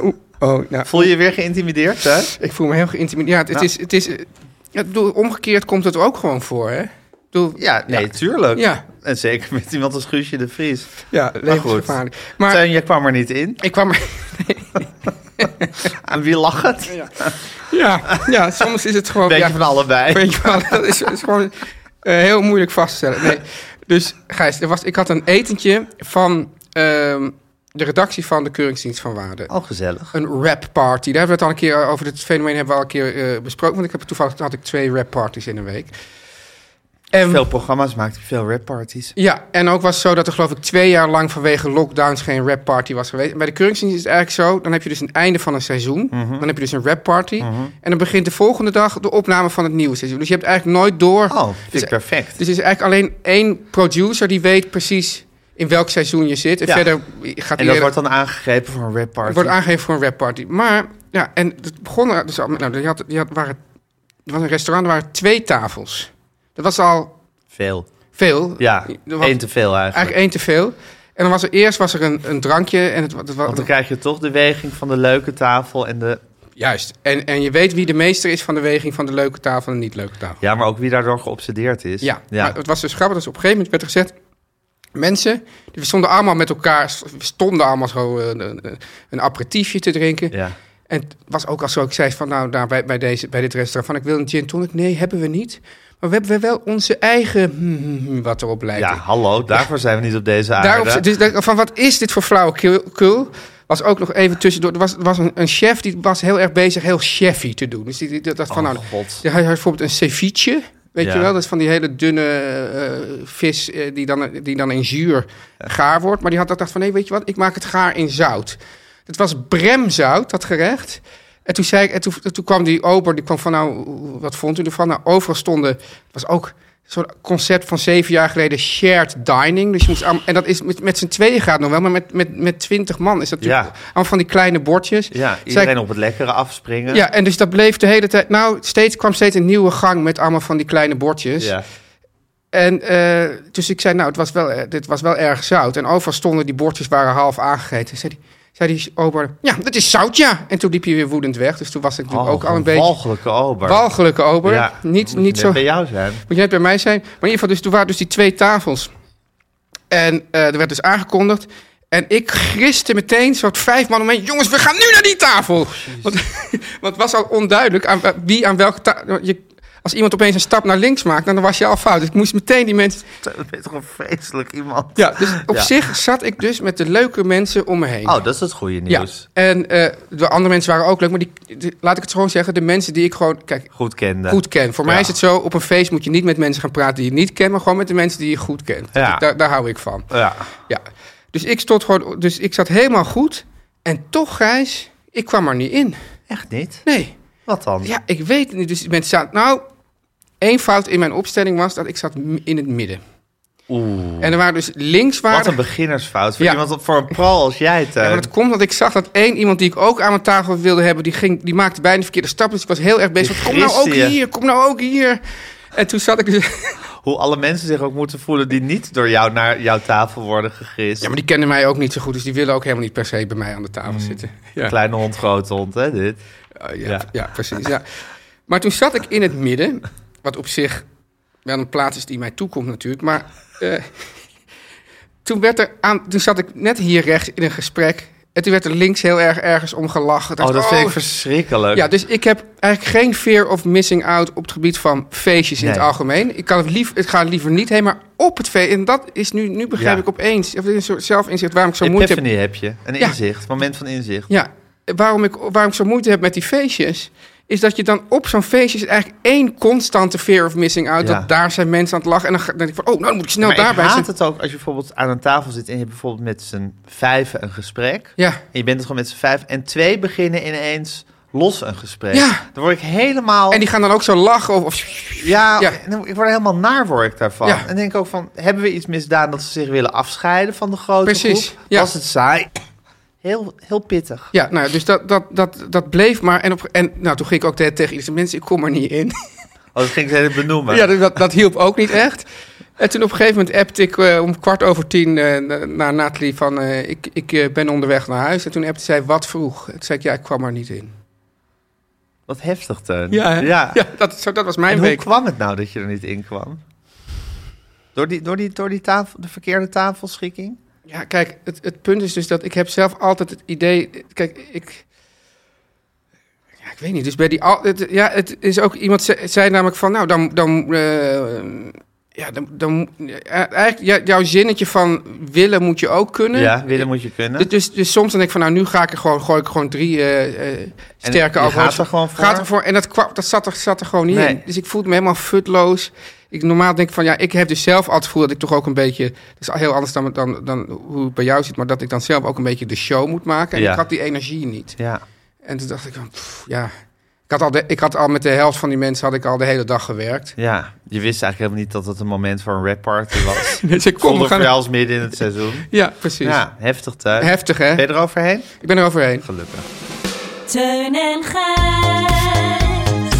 Speaker 3: Oeh, Oh, nou,
Speaker 2: Voel je je weer geïntimideerd, hè?
Speaker 3: ik voel me heel geïntimideerd. Ja, het,
Speaker 2: Nou.
Speaker 3: is, het is. eh, ja, ik bedoel, omgekeerd komt het ook gewoon voor, hè? Ik bedoel,
Speaker 2: Ja, nee, tuurlijk.
Speaker 3: Ja.
Speaker 2: En zeker met iemand als Guusje de Vries.
Speaker 3: ja, levensgevaarlijk. Maar,
Speaker 2: Teun, je kwam er niet in.
Speaker 3: ik kwam er.
Speaker 2: Aan wie lag het? Een
Speaker 3: Ja, ja, soms is het gewoon.
Speaker 2: beetje
Speaker 3: Oh, ja.
Speaker 2: van allebei.
Speaker 3: Weet je wel, dat is, is gewoon eh, heel moeilijk vast te stellen. Nee. Dus Gijs, er was, ik had een etentje van ehm, de redactie van de Keuringsdienst van Waarde.
Speaker 2: Al gezellig.
Speaker 3: Een rap party. Daar hebben we het al een keer over. Dit fenomeen hebben we al een keer eh, besproken. Want ik heb toevallig had ik twee rap parties in een week. En,
Speaker 2: Veel programma's maakt hij, veel rapparties.
Speaker 3: Ja, en ook was het zo dat er geloof ik twee jaar lang vanwege lockdowns geen rap party was geweest. En bij de Keuringsdienst is het eigenlijk zo, dan heb je dus een einde van een seizoen.
Speaker 2: Mhm.
Speaker 3: Dan heb je dus een rap party. En dan begint de volgende dag de opname van het nieuwe seizoen. Dus je hebt eigenlijk nooit door.
Speaker 2: Oh, vind
Speaker 3: Dus-
Speaker 2: ik perfect.
Speaker 3: Dus er is eigenlijk alleen één producer die weet precies in welk seizoen je zit. En
Speaker 2: Ja.
Speaker 3: verder gaat
Speaker 2: en dat
Speaker 3: iedereen-
Speaker 2: wordt dan aangegrepen voor een rapparty.
Speaker 3: wordt aangegeven voor een rapparty. Maar, ja, en het begon er dus al... met- Nou, je had, je had, waren, er was een restaurant, er waren twee tafels. Dat was al
Speaker 2: Veel.
Speaker 3: veel.
Speaker 2: Ja,
Speaker 3: Er was
Speaker 2: één te veel eigenlijk.
Speaker 3: Eigenlijk één te veel. En dan was er eerst was er een, een drankje en het, wa- het, wa-
Speaker 2: Want dan krijg je toch de weging van de leuke tafel en de...
Speaker 3: Juist. En, en je weet wie de meester is van de weging van de leuke tafel en de niet leuke tafel.
Speaker 2: Ja, maar ook wie daardoor geobsedeerd is.
Speaker 3: Ja,
Speaker 2: ja.
Speaker 3: Maar het was dus grappig. Dus op een gegeven moment werd er gezegd... Mensen, die stonden allemaal met elkaar... stonden allemaal zo eh, een, een, een aperitiefje te drinken.
Speaker 2: Ja.
Speaker 3: En het was ook al zo, ik zei van nou, nou bij, bij, deze, bij dit restaurant van ik wil een gin tonic. Nee, hebben we niet. Maar we hebben wel onze eigen hmm, hmm, hmm, wat erop lijkt.
Speaker 2: ja, hallo, daarvoor zijn we niet op deze aarde.
Speaker 3: Daarop, dus daar- van wat is dit voor flauwekul? Was ook nog even tussendoor. Er was, er was een, een chef die was heel erg bezig heel chefy te doen. Dus die, die, dat dat van
Speaker 2: Oh,
Speaker 3: nou,
Speaker 2: God.
Speaker 3: ja, hij had bijvoorbeeld een ceviche. Weet
Speaker 2: Ja.
Speaker 3: je wel, dat is van die hele dunne eh, vis eh, die, dan, die dan in zuur gaar wordt. Maar die had dat dacht van, nee, weet je wat, ik maak het gaar in zout. Het was bremzout, dat gerecht. En toen, zei ik, en toen, toen kwam die ober, die kwam van, nou, wat vond u ervan? Nou, overal stonden, het was ook zo'n concept van zeven jaar geleden, shared dining. Dus je moest, allemaal- en dat is met, met z'n tweeën gaat nog wel, maar met, met, met twintig man is dat natuurlijk
Speaker 2: Ja.
Speaker 3: allemaal van die kleine bordjes.
Speaker 2: Ja,
Speaker 3: Zei ik,
Speaker 2: iedereen op het lekkere afspringen.
Speaker 3: ja, en dus dat bleef de hele tijd. Nou, steeds kwam steeds een nieuwe gang met allemaal van die kleine bordjes.
Speaker 2: Ja.
Speaker 3: En eh, dus ik zei, nou, het was wel, eh, dit was wel erg zout. En overal stonden die bordjes waren half aangegeten. Zei die, zei die ober, ja, dat is zout, ja. En toen liep hij weer woedend weg. Dus toen was ik natuurlijk
Speaker 2: Oh,
Speaker 3: ook al een
Speaker 2: een
Speaker 3: beetje
Speaker 2: walgelijke ober.
Speaker 3: walgelijke ober.
Speaker 2: Ja,
Speaker 3: niet,
Speaker 2: moet je
Speaker 3: niet
Speaker 2: net
Speaker 3: zo.
Speaker 2: bij jou zijn. (laughs)
Speaker 3: Moet je net bij mij zijn. Maar in ieder geval, dus, toen waren dus die twee tafels. En eh, er werd dus aangekondigd. En ik griste meteen, soort vijf man omheen. Jongens, we gaan nu naar die tafel! want, (laughs) want het was al onduidelijk aan, wie aan welke tafel... Als iemand opeens een stap naar links maakt, dan was je al fout. Dus ik moest meteen die mensen...
Speaker 2: Dat is toch een vreselijk iemand.
Speaker 3: Ja, dus op
Speaker 2: Ja.
Speaker 3: zich zat ik dus met de leuke mensen om me heen.
Speaker 2: Oh, dat is het goede
Speaker 3: ja.
Speaker 2: nieuws.
Speaker 3: En eh, de andere mensen waren ook leuk. Maar die, die- laat ik het gewoon zeggen, de mensen die ik gewoon... Kijk,
Speaker 2: Goed kende.
Speaker 3: goed ken. Voor
Speaker 2: Ja.
Speaker 3: mij is het zo, op een feest moet je niet met mensen gaan praten die je niet kent, maar gewoon met de mensen die je goed kent.
Speaker 2: Ja.
Speaker 3: Dus Daar, daar hou ik van.
Speaker 2: Ja.
Speaker 3: Ja. Dus ik stond gewoon, dus ik zat helemaal goed. En toch, Gijs, ik kwam er niet in.
Speaker 2: Echt niet?
Speaker 3: Nee.
Speaker 2: Wat dan?
Speaker 3: Ja, ik weet het niet. Dus die mensen zaten, nou, één fout in mijn opstelling was dat ik zat m- in het midden. Oeh. En er waren dus links waren...
Speaker 2: Wat een beginnersfout. Voor
Speaker 3: Ja.
Speaker 2: iemand op- voor een pro als jij, Teun.
Speaker 3: Ja, maar dat komt omdat ik zag dat één iemand die ik ook aan mijn tafel wilde hebben, die, ging, die maakte bijna de verkeerde stap. Dus ik was heel erg bezig.
Speaker 2: Die
Speaker 3: van, Kom nou ook
Speaker 2: griste je.
Speaker 3: hier, kom nou ook hier. En toen zat ik dus (laughs)
Speaker 2: Hoe alle mensen zich ook moeten voelen die niet door jou naar jouw tafel worden gegrist.
Speaker 3: Ja, maar die kennen mij ook niet zo goed, dus die willen ook helemaal niet per se bij mij aan de
Speaker 2: Mm.
Speaker 3: tafel zitten. Ja,
Speaker 2: Kleine hond, grote hond, hè, dit.
Speaker 3: Oh, ja,
Speaker 2: Ja.
Speaker 3: ja. precies. Ja. Maar toen zat ik in het midden, wat op zich wel een plaats is die mij toekomt natuurlijk, maar eh, toen, werd er aan, toen zat ik net hier rechts in een gesprek en toen werd er links heel erg ergens om gelachen.
Speaker 2: Oh,
Speaker 3: Dacht,
Speaker 2: dat vind ik verschrikkelijk.
Speaker 3: Ja, dus ik heb eigenlijk geen fear of missing out op het gebied van feestjes in het
Speaker 2: Nee.
Speaker 3: algemeen. Ik, kan het lief, ik ga er liever niet heen, maar op het feest. En dat is nu, nu begrijp
Speaker 2: Ja.
Speaker 3: ik opeens, of een soort zelfinzicht waarom ik zo moeite heb.
Speaker 2: Epiphany heb je. Een
Speaker 3: Ja.
Speaker 2: inzicht, moment van inzicht.
Speaker 3: Ja, waarom ik, waarom ik zo moeite heb met die feestjes... is dat je dan op zo'n feestje is eigenlijk één constante fear of missing out.
Speaker 2: Ja.
Speaker 3: Dat daar zijn mensen aan het lachen. En dan ga- dan denk ik van, oh, nou dan moet ik snel
Speaker 2: maar
Speaker 3: daarbij
Speaker 2: ik haat
Speaker 3: zijn.
Speaker 2: het ook als je bijvoorbeeld aan een tafel zit... en je hebt bijvoorbeeld met z'n vijven een gesprek.
Speaker 3: Ja,
Speaker 2: En je bent het gewoon met z'n vijf. En twee beginnen ineens los een gesprek.
Speaker 3: Ja.
Speaker 2: Dan word ik helemaal...
Speaker 3: en die gaan dan ook zo lachen. Of, of-
Speaker 2: Ja,
Speaker 3: Ja.
Speaker 2: en dan- ik word er helemaal naar word ik daarvan.
Speaker 3: Ja.
Speaker 2: En denk ook van, hebben we iets misdaan dat ze zich willen afscheiden van de grote
Speaker 3: Precies,
Speaker 2: groep?
Speaker 3: ja.
Speaker 2: Was het saai? Heel, heel pittig.
Speaker 3: ja, nou, ja, dus dat, dat, dat, dat bleef maar. En, op, en nou, toen ging ik ook de- tegen iedereen, mensen, ik kom er niet in.
Speaker 2: Oh, dat ging ik even benoemen.
Speaker 3: (laughs) Ja, dat, dat hielp ook niet echt. En toen op een gegeven moment appte ik eh, om kwart over tien eh, na- naar Nathalie van... eh, ik, ik eh, ben onderweg naar huis. En toen appte zij, wat vroeg? En toen zei ik, ja, ik kwam er niet in.
Speaker 2: Wat heftig, Teun.
Speaker 3: Ja, hè?
Speaker 2: ja.
Speaker 3: Ja, dat, zo, dat was mijn
Speaker 2: En hoe
Speaker 3: week.
Speaker 2: kwam het nou dat je er niet in kwam? Door die, door die, door die tafel, de verkeerde tafelschikking?
Speaker 3: Ja, kijk, het, het punt is dus dat ik heb zelf altijd het idee... Kijk, ik... Ja, ik weet niet. Dus bij die... al- Het, ja, het is ook... Iemand ze- zei namelijk van... Nou, dan... dan eh, Ja, dan, dan, eh, eigenlijk ja, jouw zinnetje van willen moet je ook kunnen.
Speaker 2: Ja, willen moet je kunnen.
Speaker 3: Dus, dus, dus soms denk ik van, nou, nu ga ik er gewoon, gooi ik gewoon drie eh, eh, sterke
Speaker 2: je
Speaker 3: alcohols-
Speaker 2: gaat er gewoon voor?
Speaker 3: Gaat er voor. En dat, kwam, dat zat, er, zat er gewoon niet
Speaker 2: Nee.
Speaker 3: in. Dus ik voelde me helemaal futloos. Ik normaal denk ik van, ja, ik heb dus zelf altijd het gevoel dat ik toch ook een beetje... Dat is heel anders dan, dan, dan hoe het bij jou zit, maar dat ik dan zelf ook een beetje de show moet maken. En
Speaker 2: Ja.
Speaker 3: ik had die energie niet.
Speaker 2: Ja.
Speaker 3: En toen dacht ik van, pff, ja... Ik had, al de, ik had al met de helft van die mensen had ik al de hele dag gewerkt.
Speaker 2: ja, je wist eigenlijk helemaal niet dat het een moment voor een rap party
Speaker 3: (laughs)
Speaker 2: was.
Speaker 3: (laughs) Dus ik kom, we
Speaker 2: Zonder
Speaker 3: gaan-
Speaker 2: voor jou als midden in het seizoen.
Speaker 3: Ja, precies.
Speaker 2: Ja, heftig tuin.
Speaker 3: Heftig, hè?
Speaker 2: Ben je er overheen?
Speaker 3: Ik ben er overheen.
Speaker 2: Gelukkig.
Speaker 6: Teun en Gijs.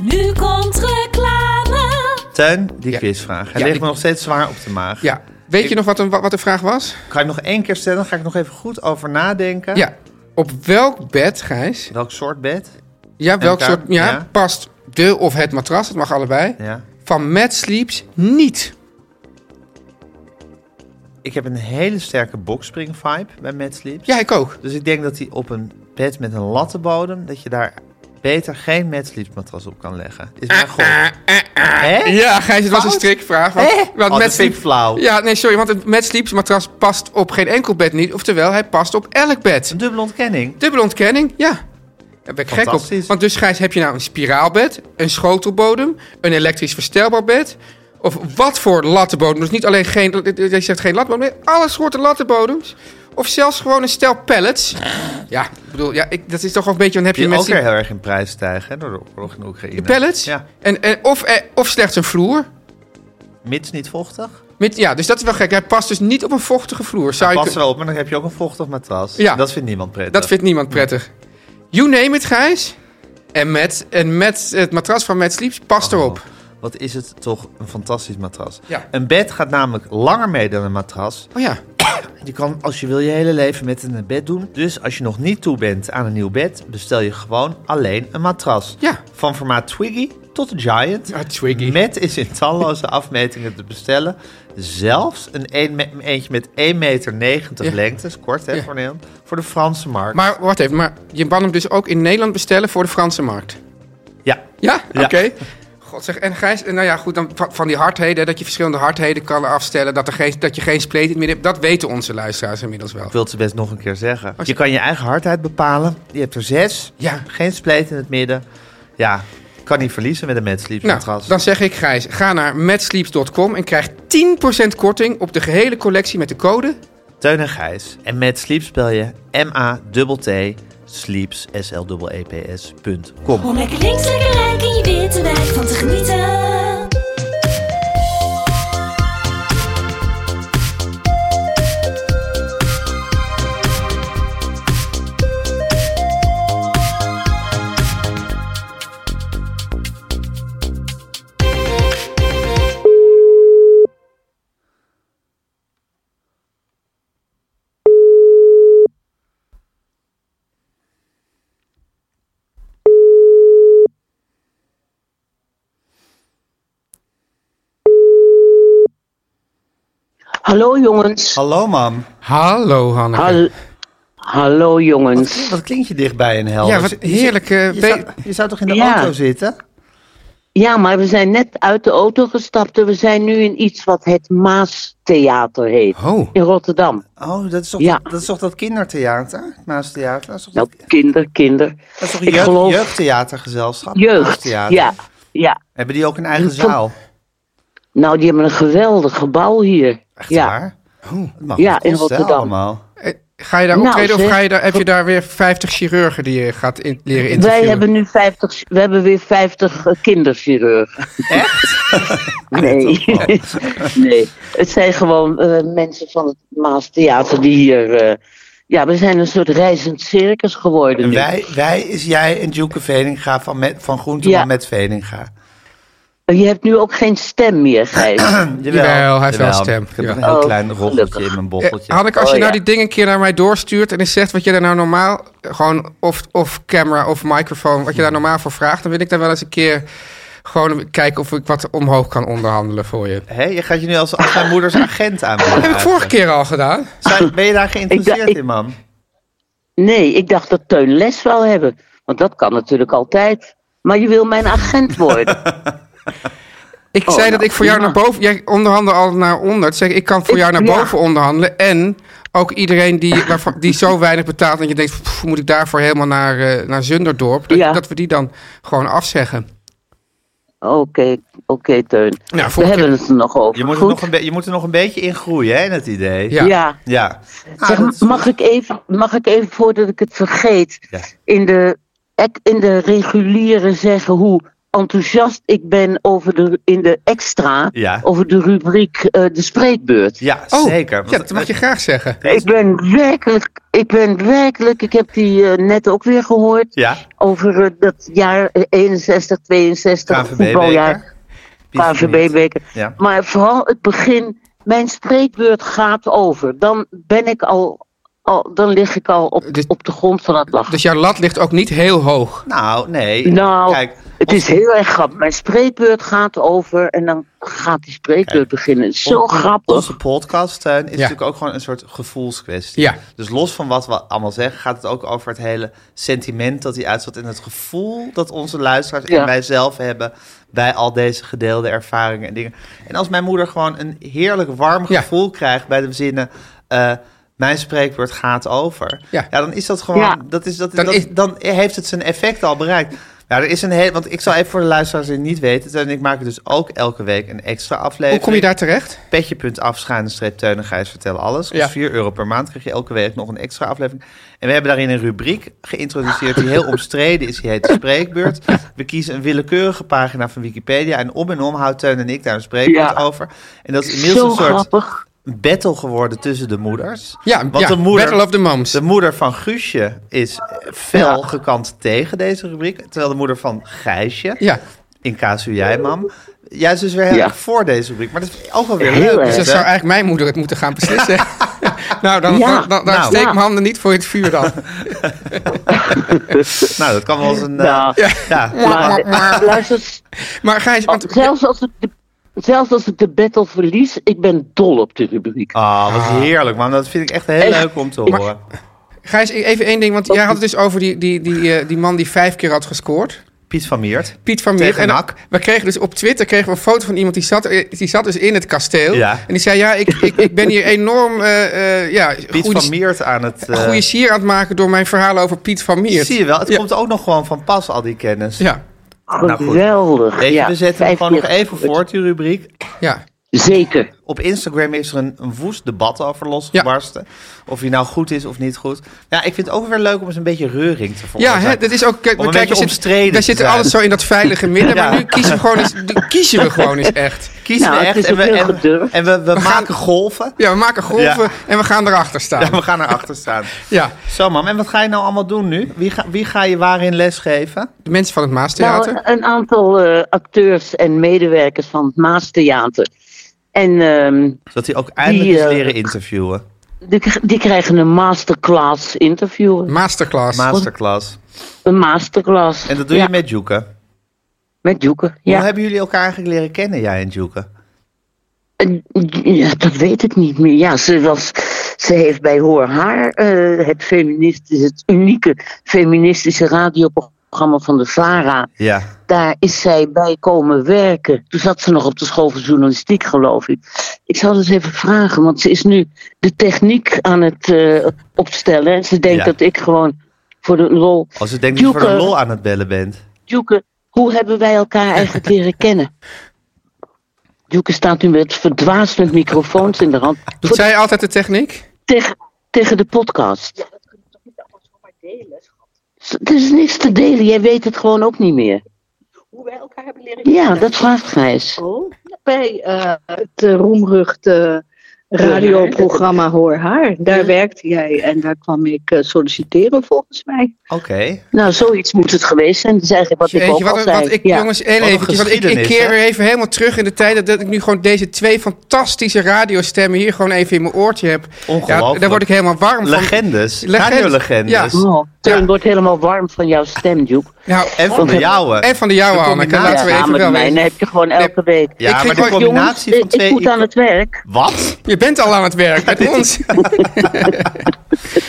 Speaker 6: Nu komt reclame.
Speaker 2: Teun, die
Speaker 3: Ja.
Speaker 2: quizvraag. Hij
Speaker 3: Ja,
Speaker 2: ligt
Speaker 3: ik-
Speaker 2: me nog steeds zwaar op de maag.
Speaker 3: Ja. Weet je nog wat, een, wat de vraag was?
Speaker 2: Ga ik nog één keer stellen, ga ik nog even goed over nadenken.
Speaker 3: Ja. Op welk bed, Gijs?
Speaker 2: Welk soort bed?
Speaker 3: Ja, welk
Speaker 2: daar-
Speaker 3: soort... Ja,
Speaker 2: ja.
Speaker 3: past de of het matras, het mag allebei,
Speaker 2: Ja.
Speaker 3: van Mad Sleeps niet.
Speaker 2: Ik heb een hele sterke boxspring vibe bij Mad Sleeps.
Speaker 3: Ja, ik ook.
Speaker 2: Dus ik denk dat die op een bed met een lattenbodem, dat je daar beter geen Mad Sleeps matras op kan leggen. Is
Speaker 3: Ah,
Speaker 2: mijn god. Hè?
Speaker 3: Ja, Gijs, het was een
Speaker 2: Fout?
Speaker 3: strikvraag. Want,
Speaker 2: Hè?
Speaker 3: want
Speaker 2: Oh, dat
Speaker 3: Mad
Speaker 2: vind ik
Speaker 3: Sleep-
Speaker 2: flauw.
Speaker 3: Ja, nee, sorry, want het Mad Sleeps matras past op geen enkel bed niet. Oftewel, hij past op elk bed.
Speaker 2: Een dubbele ontkenning.
Speaker 3: Dubbele ontkenning, ja. Daar ben ik gek op.
Speaker 2: Fantastisch.
Speaker 3: Want dus, Gijs, heb je nou een spiraalbed, een schotelbodem, een elektrisch verstelbaar bed... Of wat voor lattenbodem? Dus niet alleen geen, je zegt geen lattenbodem, nee, alle soorten lattenbodems. Of zelfs gewoon een stel pallets. Ja, ik bedoel, ja, ik, dat is toch wel een beetje... Dan heb je
Speaker 2: Die ook
Speaker 3: mensen
Speaker 2: weer
Speaker 3: die-
Speaker 2: heel erg in prijs stijgen hè, door de oorlog in Oekraïne.
Speaker 3: de pallets.
Speaker 2: Ja.
Speaker 3: En, en, of, eh, of slechts een vloer.
Speaker 2: Mits niet vochtig.
Speaker 3: Met, ja, dus dat is wel gek. Hij past dus niet op een vochtige vloer. Zou je
Speaker 2: Pas
Speaker 3: kun-
Speaker 2: wel op, maar dan heb je ook een vochtig matras.
Speaker 3: Ja.
Speaker 2: Dat vindt niemand prettig.
Speaker 3: Dat vindt niemand prettig. You name it, Gijs. En met, en met het matras van Matt Sleeps past
Speaker 2: Oh.
Speaker 3: erop.
Speaker 2: Wat is het toch een fantastisch matras.
Speaker 3: Ja.
Speaker 2: Een bed gaat namelijk langer mee dan een matras.
Speaker 3: Oh ja.
Speaker 2: Je kan als je wil je hele leven met een bed doen. Dus als je nog niet toe bent aan een nieuw bed, bestel je gewoon alleen een matras.
Speaker 3: Ja.
Speaker 2: Van formaat Twiggy tot Giant.
Speaker 3: Ah, Twiggy.
Speaker 2: Met is in talloze (laughs) afmetingen te bestellen. Zelfs een een me- eentje met 1,90 meter
Speaker 3: Ja.
Speaker 2: lengte. is kort hè,
Speaker 3: Ja.
Speaker 2: voor Nederland. Voor de Franse markt.
Speaker 3: Maar wacht even. Maar je kan hem dus ook in Nederland bestellen voor de Franse markt.
Speaker 2: Ja.
Speaker 3: Ja?
Speaker 2: Ja.
Speaker 3: Oké. God zeg, en Gijs, en nou ja, goed, dan van van die hardheden, hè, dat je verschillende hardheden kan afstellen, dat, er geen, dat je geen spleet meer hebt, dat weten onze luisteraars inmiddels wel.
Speaker 2: Ik wil het ze best nog een keer zeggen. Je kan je eigen hardheid bepalen. Je hebt er zes.
Speaker 3: Ja.
Speaker 2: Geen spleet in het midden. Ja, kan niet verliezen met een Mad
Speaker 3: Nou,
Speaker 2: matras.
Speaker 3: dan zeg ik Gijs, ga naar matsleeps.com en krijg 10% korting op de gehele collectie met de code
Speaker 2: Teun en Gijs. En met Sleep spel je M-A-T-T Sleeps, E S-L-E-E-P-S, punt com.
Speaker 6: Om lekker links, lekker rijk in je witte wijk van te genieten.
Speaker 7: Hallo jongens.
Speaker 4: Hallo, mam.
Speaker 3: Hallo Hanneke.
Speaker 7: Hal- Hallo jongens.
Speaker 2: Wat klinkt je dichtbij een hel?
Speaker 3: Ja, wat heerlijk. eh,
Speaker 2: Je
Speaker 3: be-
Speaker 2: zou, je zou toch in de
Speaker 7: Ja.
Speaker 2: auto zitten?
Speaker 7: Ja, maar we zijn net uit de auto gestapt en we zijn nu in iets wat het Maastheater heet.
Speaker 3: Oh.
Speaker 7: In Rotterdam.
Speaker 2: Oh, dat is toch,
Speaker 7: Ja.
Speaker 2: dat, is toch dat kindertheater? Het Maastheater? Dat is toch,
Speaker 7: Nou,
Speaker 2: dat,
Speaker 7: kinder, kinder.
Speaker 2: dat is toch
Speaker 7: ik
Speaker 2: jeugd-
Speaker 7: geloof-
Speaker 2: jeugdtheatergezelschap?
Speaker 7: Jeugd.
Speaker 2: Maastheater.
Speaker 7: Ja, ja.
Speaker 2: Hebben die ook een eigen
Speaker 7: Dat kan-
Speaker 2: zaal?
Speaker 7: Nou, die hebben een geweldig gebouw hier.
Speaker 2: Echt
Speaker 7: ja.
Speaker 2: waar? Het mag
Speaker 7: Ja,
Speaker 2: wat
Speaker 7: in
Speaker 2: kosten, hè,
Speaker 7: Rotterdam.
Speaker 2: Allemaal.
Speaker 3: eh, Ga je daar
Speaker 7: Nou,
Speaker 3: optreden of
Speaker 7: zeg.
Speaker 3: ga je daar, heb je daar weer 50 chirurgen die je gaat in- leren interviewen?
Speaker 7: Wij hebben nu 50, we hebben weer 50 eh, kinderchirurgen. (laughs) Echt? Nee. (laughs) nee. Het zijn gewoon eh, mensen van het Maastheater die hier. eh, ja, we zijn een soort reizend circus geworden.
Speaker 2: En
Speaker 7: nu.
Speaker 2: wij, wij is jij en Joeke Veninga van, met, van Groenteman
Speaker 7: Ja.
Speaker 2: met Veninga.
Speaker 7: Je hebt nu ook geen stem
Speaker 2: (clears throat)
Speaker 7: meer, Gijs.
Speaker 3: Jawel, hij heeft wel stem.
Speaker 2: Ik heb
Speaker 3: Ja.
Speaker 2: een heel
Speaker 7: Oh,
Speaker 2: klein roffeltje
Speaker 7: gelukkig.
Speaker 2: in mijn
Speaker 3: Eh,
Speaker 2: bocheltje.
Speaker 3: Hanneke, als
Speaker 7: Oh,
Speaker 3: je nou
Speaker 7: ja.
Speaker 3: die dingen een keer naar mij doorstuurt en eens zegt wat je daar nou normaal, eh, gewoon of, of camera of microfoon, wat je daar normaal voor vraagt, dan wil ik daar wel eens een keer gewoon kijken of ik wat omhoog kan onderhandelen voor je.
Speaker 2: Hé, je gaat je nu als, als mijn moeders agent aan.
Speaker 3: (laughs) Dat heb ik vorige keer al gedaan.
Speaker 2: Zijn, ben je daar geïnteresseerd
Speaker 7: Ik dacht-
Speaker 2: in, man?
Speaker 7: Nee, ik dacht dat Teun les wel hebben.
Speaker 2: (laughs)
Speaker 7: Want dat kan natuurlijk altijd. Maar je wil mijn agent worden.
Speaker 3: Ik
Speaker 7: Oh,
Speaker 3: zei
Speaker 7: nou,
Speaker 3: dat ik voor jou naar
Speaker 7: prima.
Speaker 3: boven... Jij onderhandelde al naar onder. Ik Zeg, ik kan voor
Speaker 7: Ik-
Speaker 3: jou naar
Speaker 7: ja.
Speaker 3: boven onderhandelen. En ook iedereen die, waarvan, die zo weinig betaalt... dat je denkt, "Pff, moet ik daarvoor helemaal naar, eh, naar Zunderdorp? Dat,
Speaker 7: Ja.
Speaker 3: dat we die dan gewoon afzeggen.
Speaker 7: Oké, oké, Teun.
Speaker 3: Nou,
Speaker 7: We
Speaker 3: volgende
Speaker 7: hebben het er nog over.
Speaker 2: Je moet, er
Speaker 7: Goed?
Speaker 2: nog een be- je moet er nog een beetje in groeien, hè, in het idee.
Speaker 3: Ja.
Speaker 7: ja.
Speaker 2: Ja.
Speaker 7: Zeg,
Speaker 2: Ah, dat is-
Speaker 7: mag, ik even, mag ik even, voordat ik het vergeet,
Speaker 2: Ja.
Speaker 7: in, de, ek- in de reguliere zeggen hoe enthousiast ik ben over de, in de extra,
Speaker 2: Ja.
Speaker 7: over de rubriek eh, de spreekbeurt.
Speaker 2: Ja,
Speaker 3: Oh,
Speaker 2: zeker.
Speaker 3: Ja, dat mag je graag zeggen.
Speaker 7: Ik ben werkelijk, ik ben werkelijk, ik heb die eh, net ook weer gehoord,
Speaker 2: Ja,
Speaker 7: over eh, dat jaar 61, 62, voetbaljaar,
Speaker 2: KVB-beker.
Speaker 7: KVB-beker.
Speaker 2: Ja.
Speaker 7: Maar vooral het begin, mijn spreekbeurt gaat over. Dan ben ik al, al dan lig ik al op,
Speaker 3: Dus-
Speaker 7: op de grond van het lachen.
Speaker 3: Dus jouw lat ligt ook niet heel hoog.
Speaker 2: Nou, nee.
Speaker 7: nou,
Speaker 2: Kijk,
Speaker 7: het is heel erg grappig. Mijn spreekbeurt gaat over en dan gaat die spreekbeurt
Speaker 2: Kijk,
Speaker 7: beginnen. Het is zo
Speaker 2: on-
Speaker 7: grappig.
Speaker 2: Onze podcast Teun, is
Speaker 3: Ja.
Speaker 2: natuurlijk ook gewoon een soort gevoelskwestie.
Speaker 3: Ja.
Speaker 2: Dus los van wat we allemaal zeggen, gaat het ook over het hele sentiment dat hij uitzet. En het gevoel dat onze luisteraars
Speaker 7: Ja.
Speaker 2: en wij zelf hebben bij al deze gedeelde ervaringen en dingen. En als mijn moeder gewoon een heerlijk warm
Speaker 3: Ja.
Speaker 2: gevoel krijgt bij de zinnen. eh, mijn spreekwoord gaat over.
Speaker 3: Ja.
Speaker 2: dan is dat gewoon.
Speaker 7: Ja.
Speaker 2: Dat is, dat,
Speaker 3: Dan
Speaker 2: dat-
Speaker 3: is-
Speaker 2: dan heeft het zijn effect al bereikt. Ja, er is een hele. Want ik zal even voor de luisteraars die het niet weten. Teun En ik maken dus ook elke week een extra aflevering
Speaker 3: Hoe kom je daar terecht?
Speaker 2: petje.afschuine-streep Teun en Gijs vertellen alles. Dus
Speaker 3: Ja.
Speaker 2: 4 euro per maand krijg je elke week nog een extra aflevering. En we hebben daarin een rubriek geïntroduceerd die heel omstreden is. Die heet de Spreekbeurt. We kiezen een willekeurige pagina van Wikipedia. En om en om houdt Teun en ik daar een spreekbeurt
Speaker 7: Ja.
Speaker 2: over. En dat is
Speaker 7: zo
Speaker 2: inmiddels een soort
Speaker 7: grappig.
Speaker 2: battle geworden tussen de moeders.
Speaker 3: Ja, ja, Battle of the Moms.
Speaker 2: De moeder van Guusje is fel
Speaker 7: Ja.
Speaker 2: gekant tegen deze rubriek. Terwijl de moeder van Gijsje
Speaker 3: Ja, Dus
Speaker 2: in casu jij, mam. Juist dus weer heel
Speaker 7: Ja.
Speaker 2: erg voor deze rubriek. Maar dat is ook wel weer
Speaker 7: Heel
Speaker 2: leuk.
Speaker 7: erg.
Speaker 3: dus
Speaker 2: hè?
Speaker 3: dat zou eigenlijk mijn moeder het moeten gaan
Speaker 2: (laughs)
Speaker 3: beslissen. (laughs) nou, dan,
Speaker 7: Ja.
Speaker 3: dan, dan, dan
Speaker 2: Nou.
Speaker 3: steek ik
Speaker 7: Ja.
Speaker 3: mijn handen niet voor in het vuur
Speaker 2: (laughs)
Speaker 3: dan.
Speaker 2: Nou, dat kan wel eens een...
Speaker 7: Nou,
Speaker 2: eh, ja. (laughs)
Speaker 7: Maar, luister,
Speaker 3: Maar Gijs, want,
Speaker 7: zelfs als, ik de, zelfs als ik de battle verlies, ik ben dol op de rubriek.
Speaker 2: Ah, wat heerlijk, man. Dat vind ik echt heel
Speaker 7: Echt.
Speaker 2: leuk om te horen.
Speaker 3: Gijs, even één ding. Want jij had het dus over die, die, die, eh, die man die vijf keer had gescoord.
Speaker 2: Piet van Meert.
Speaker 3: Piet van Meer.
Speaker 2: Tegen
Speaker 3: En dan-
Speaker 2: NAC.
Speaker 3: we kregen dus op Twitter kregen we een foto van iemand die zat, eh, die zat dus in het kasteel.
Speaker 2: Ja.
Speaker 3: En die zei, ja, ik, ik, ik ben hier enorm eh, eh, ja,
Speaker 2: Piet
Speaker 3: goede,
Speaker 2: van Meert aan het... eh,
Speaker 3: goede sier aan het maken door mijn verhalen over Piet van Meer.
Speaker 2: zie je wel, het
Speaker 3: Ja.
Speaker 2: komt ook nog gewoon van pas, al die kennis.
Speaker 3: Ja,
Speaker 2: nou goed.
Speaker 7: Geweldig.
Speaker 2: Weet je,
Speaker 7: ja,
Speaker 2: we zetten hem
Speaker 7: vijf
Speaker 2: gewoon nog
Speaker 7: keer
Speaker 2: even
Speaker 7: gebeurd.
Speaker 2: voort, die rubriek.
Speaker 3: ja.
Speaker 7: Zeker.
Speaker 2: Op Instagram is er een, een woest debat over losgebarsten. Of hij nou goed is of niet goed. Ja, ik vind het ook weer leuk om eens een beetje reuring te
Speaker 3: Ja,
Speaker 2: veroorzaken.
Speaker 3: hè, dat is ook. Kijk,
Speaker 2: Om een
Speaker 3: kijk, we
Speaker 2: beetje
Speaker 3: zitten-
Speaker 2: omstreden
Speaker 3: Daar
Speaker 2: te
Speaker 3: zitten
Speaker 2: zijn.
Speaker 3: alles zo in dat veilige
Speaker 2: (laughs)
Speaker 3: midden.
Speaker 2: Ja.
Speaker 3: Maar nu kiezen we gewoon eens, nu kiezen we gewoon eens echt.
Speaker 2: Kiezen
Speaker 7: Nou,
Speaker 2: we
Speaker 7: het
Speaker 2: echt.
Speaker 7: is
Speaker 2: En
Speaker 7: ook
Speaker 2: we,
Speaker 7: heel
Speaker 2: en, we-
Speaker 7: gedurfd.
Speaker 2: en we, we maken golven.
Speaker 3: Ja, we maken golven
Speaker 2: Ja.
Speaker 3: en we gaan erachter
Speaker 2: Ja,
Speaker 3: staan.
Speaker 2: we gaan erachter staan.
Speaker 3: Ja,
Speaker 2: Zo, mam. En wat ga je nou allemaal doen nu? Wie ga, wie ga je waarin lesgeven?
Speaker 3: de mensen van het
Speaker 7: Nou,
Speaker 3: Maastheater.
Speaker 7: een aantal eh, acteurs en medewerkers van het Maastheater. En ehm,
Speaker 2: Zodat hij ook eindelijk
Speaker 7: Die,
Speaker 2: eens
Speaker 7: eh,
Speaker 2: leren interviewen.
Speaker 7: die, die krijgen een masterclass interview.
Speaker 3: Masterclass.
Speaker 2: Masterclass.
Speaker 7: Een masterclass.
Speaker 2: En dat doe
Speaker 7: Ja,
Speaker 2: je met Joeken.
Speaker 7: met Joeken. Ja.
Speaker 2: Hoe hebben jullie elkaar eigenlijk leren kennen, jij en Joeken?
Speaker 7: En, ja, dat weet ik niet meer. Ja, ze, was, ze heeft bij Hoor Haar eh, het, feministisch, het unieke feministische radioprogramma van de VARA.
Speaker 2: Ja.
Speaker 7: Daar is zij bij komen werken. Toen zat ze nog op de school van journalistiek, geloof ik. Ik zal eens even vragen, want ze is nu de techniek aan het eh, opstellen. En ze denkt
Speaker 2: Ja.
Speaker 7: dat ik gewoon voor de lol.
Speaker 2: Als ik denk dat je voor de
Speaker 7: Joeke.
Speaker 2: lol aan het bellen bent.
Speaker 7: Joeke, hoe hebben wij
Speaker 2: (laughs)
Speaker 7: elkaar eigenlijk leren kennen? Joeke staat nu met verdwaasd met microfoons in de hand.
Speaker 3: Doet zij altijd de techniek?
Speaker 7: tegen, tegen de podcast. Ja, dat kunnen we toch niet allemaal zomaar delen, Er is niks te delen, jij weet het gewoon ook niet meer.
Speaker 8: hoe wij elkaar hebben leren
Speaker 7: Ja, dat vraagt Gijs.
Speaker 8: kennen. Bij eh, het eh, roemrucht eh, radioprogramma Hoor Haar. Daar werkte jij en daar kwam ik eh, solliciteren volgens mij.
Speaker 2: Oké.
Speaker 7: Nou, zoiets moet het geweest zijn. Dat is eigenlijk wat ik
Speaker 3: Jeetje,
Speaker 7: ook al
Speaker 3: wat,
Speaker 7: zei.
Speaker 3: wat ik,
Speaker 7: ja.
Speaker 3: jongens, heel
Speaker 2: Wat een
Speaker 3: eventjes, want ik, ik
Speaker 2: geschiedenis,
Speaker 3: keer
Speaker 2: hè?
Speaker 3: weer even helemaal terug in de tijd dat, dat ik nu gewoon deze twee fantastische radiostemmen hier gewoon even in mijn oortje heb. Ja,
Speaker 2: Ongelooflijk.
Speaker 3: daar word ik helemaal warm van.
Speaker 2: Legendes.
Speaker 3: Legend-
Speaker 2: Radiolegendes.
Speaker 3: Ja.
Speaker 7: Oh, Teun
Speaker 3: Ja.
Speaker 7: wordt helemaal warm van jouw stem, Joek.
Speaker 3: Nou,
Speaker 2: En van de jouwe.
Speaker 3: en van de jouwe,
Speaker 2: De
Speaker 3: Hanneke.
Speaker 2: combinatie.
Speaker 3: Laten we
Speaker 7: ja,
Speaker 3: even
Speaker 7: maar
Speaker 3: wel
Speaker 7: de mijne
Speaker 3: weten.
Speaker 7: heb je gewoon elke week.
Speaker 2: Ja,
Speaker 3: Ik
Speaker 2: maar
Speaker 3: ging
Speaker 2: de
Speaker 3: ook-
Speaker 2: combinatie
Speaker 7: Jongens, eh,
Speaker 2: van twee...
Speaker 7: ik moet aan het werk.
Speaker 2: Wat?
Speaker 3: Je bent al aan het werk met ons.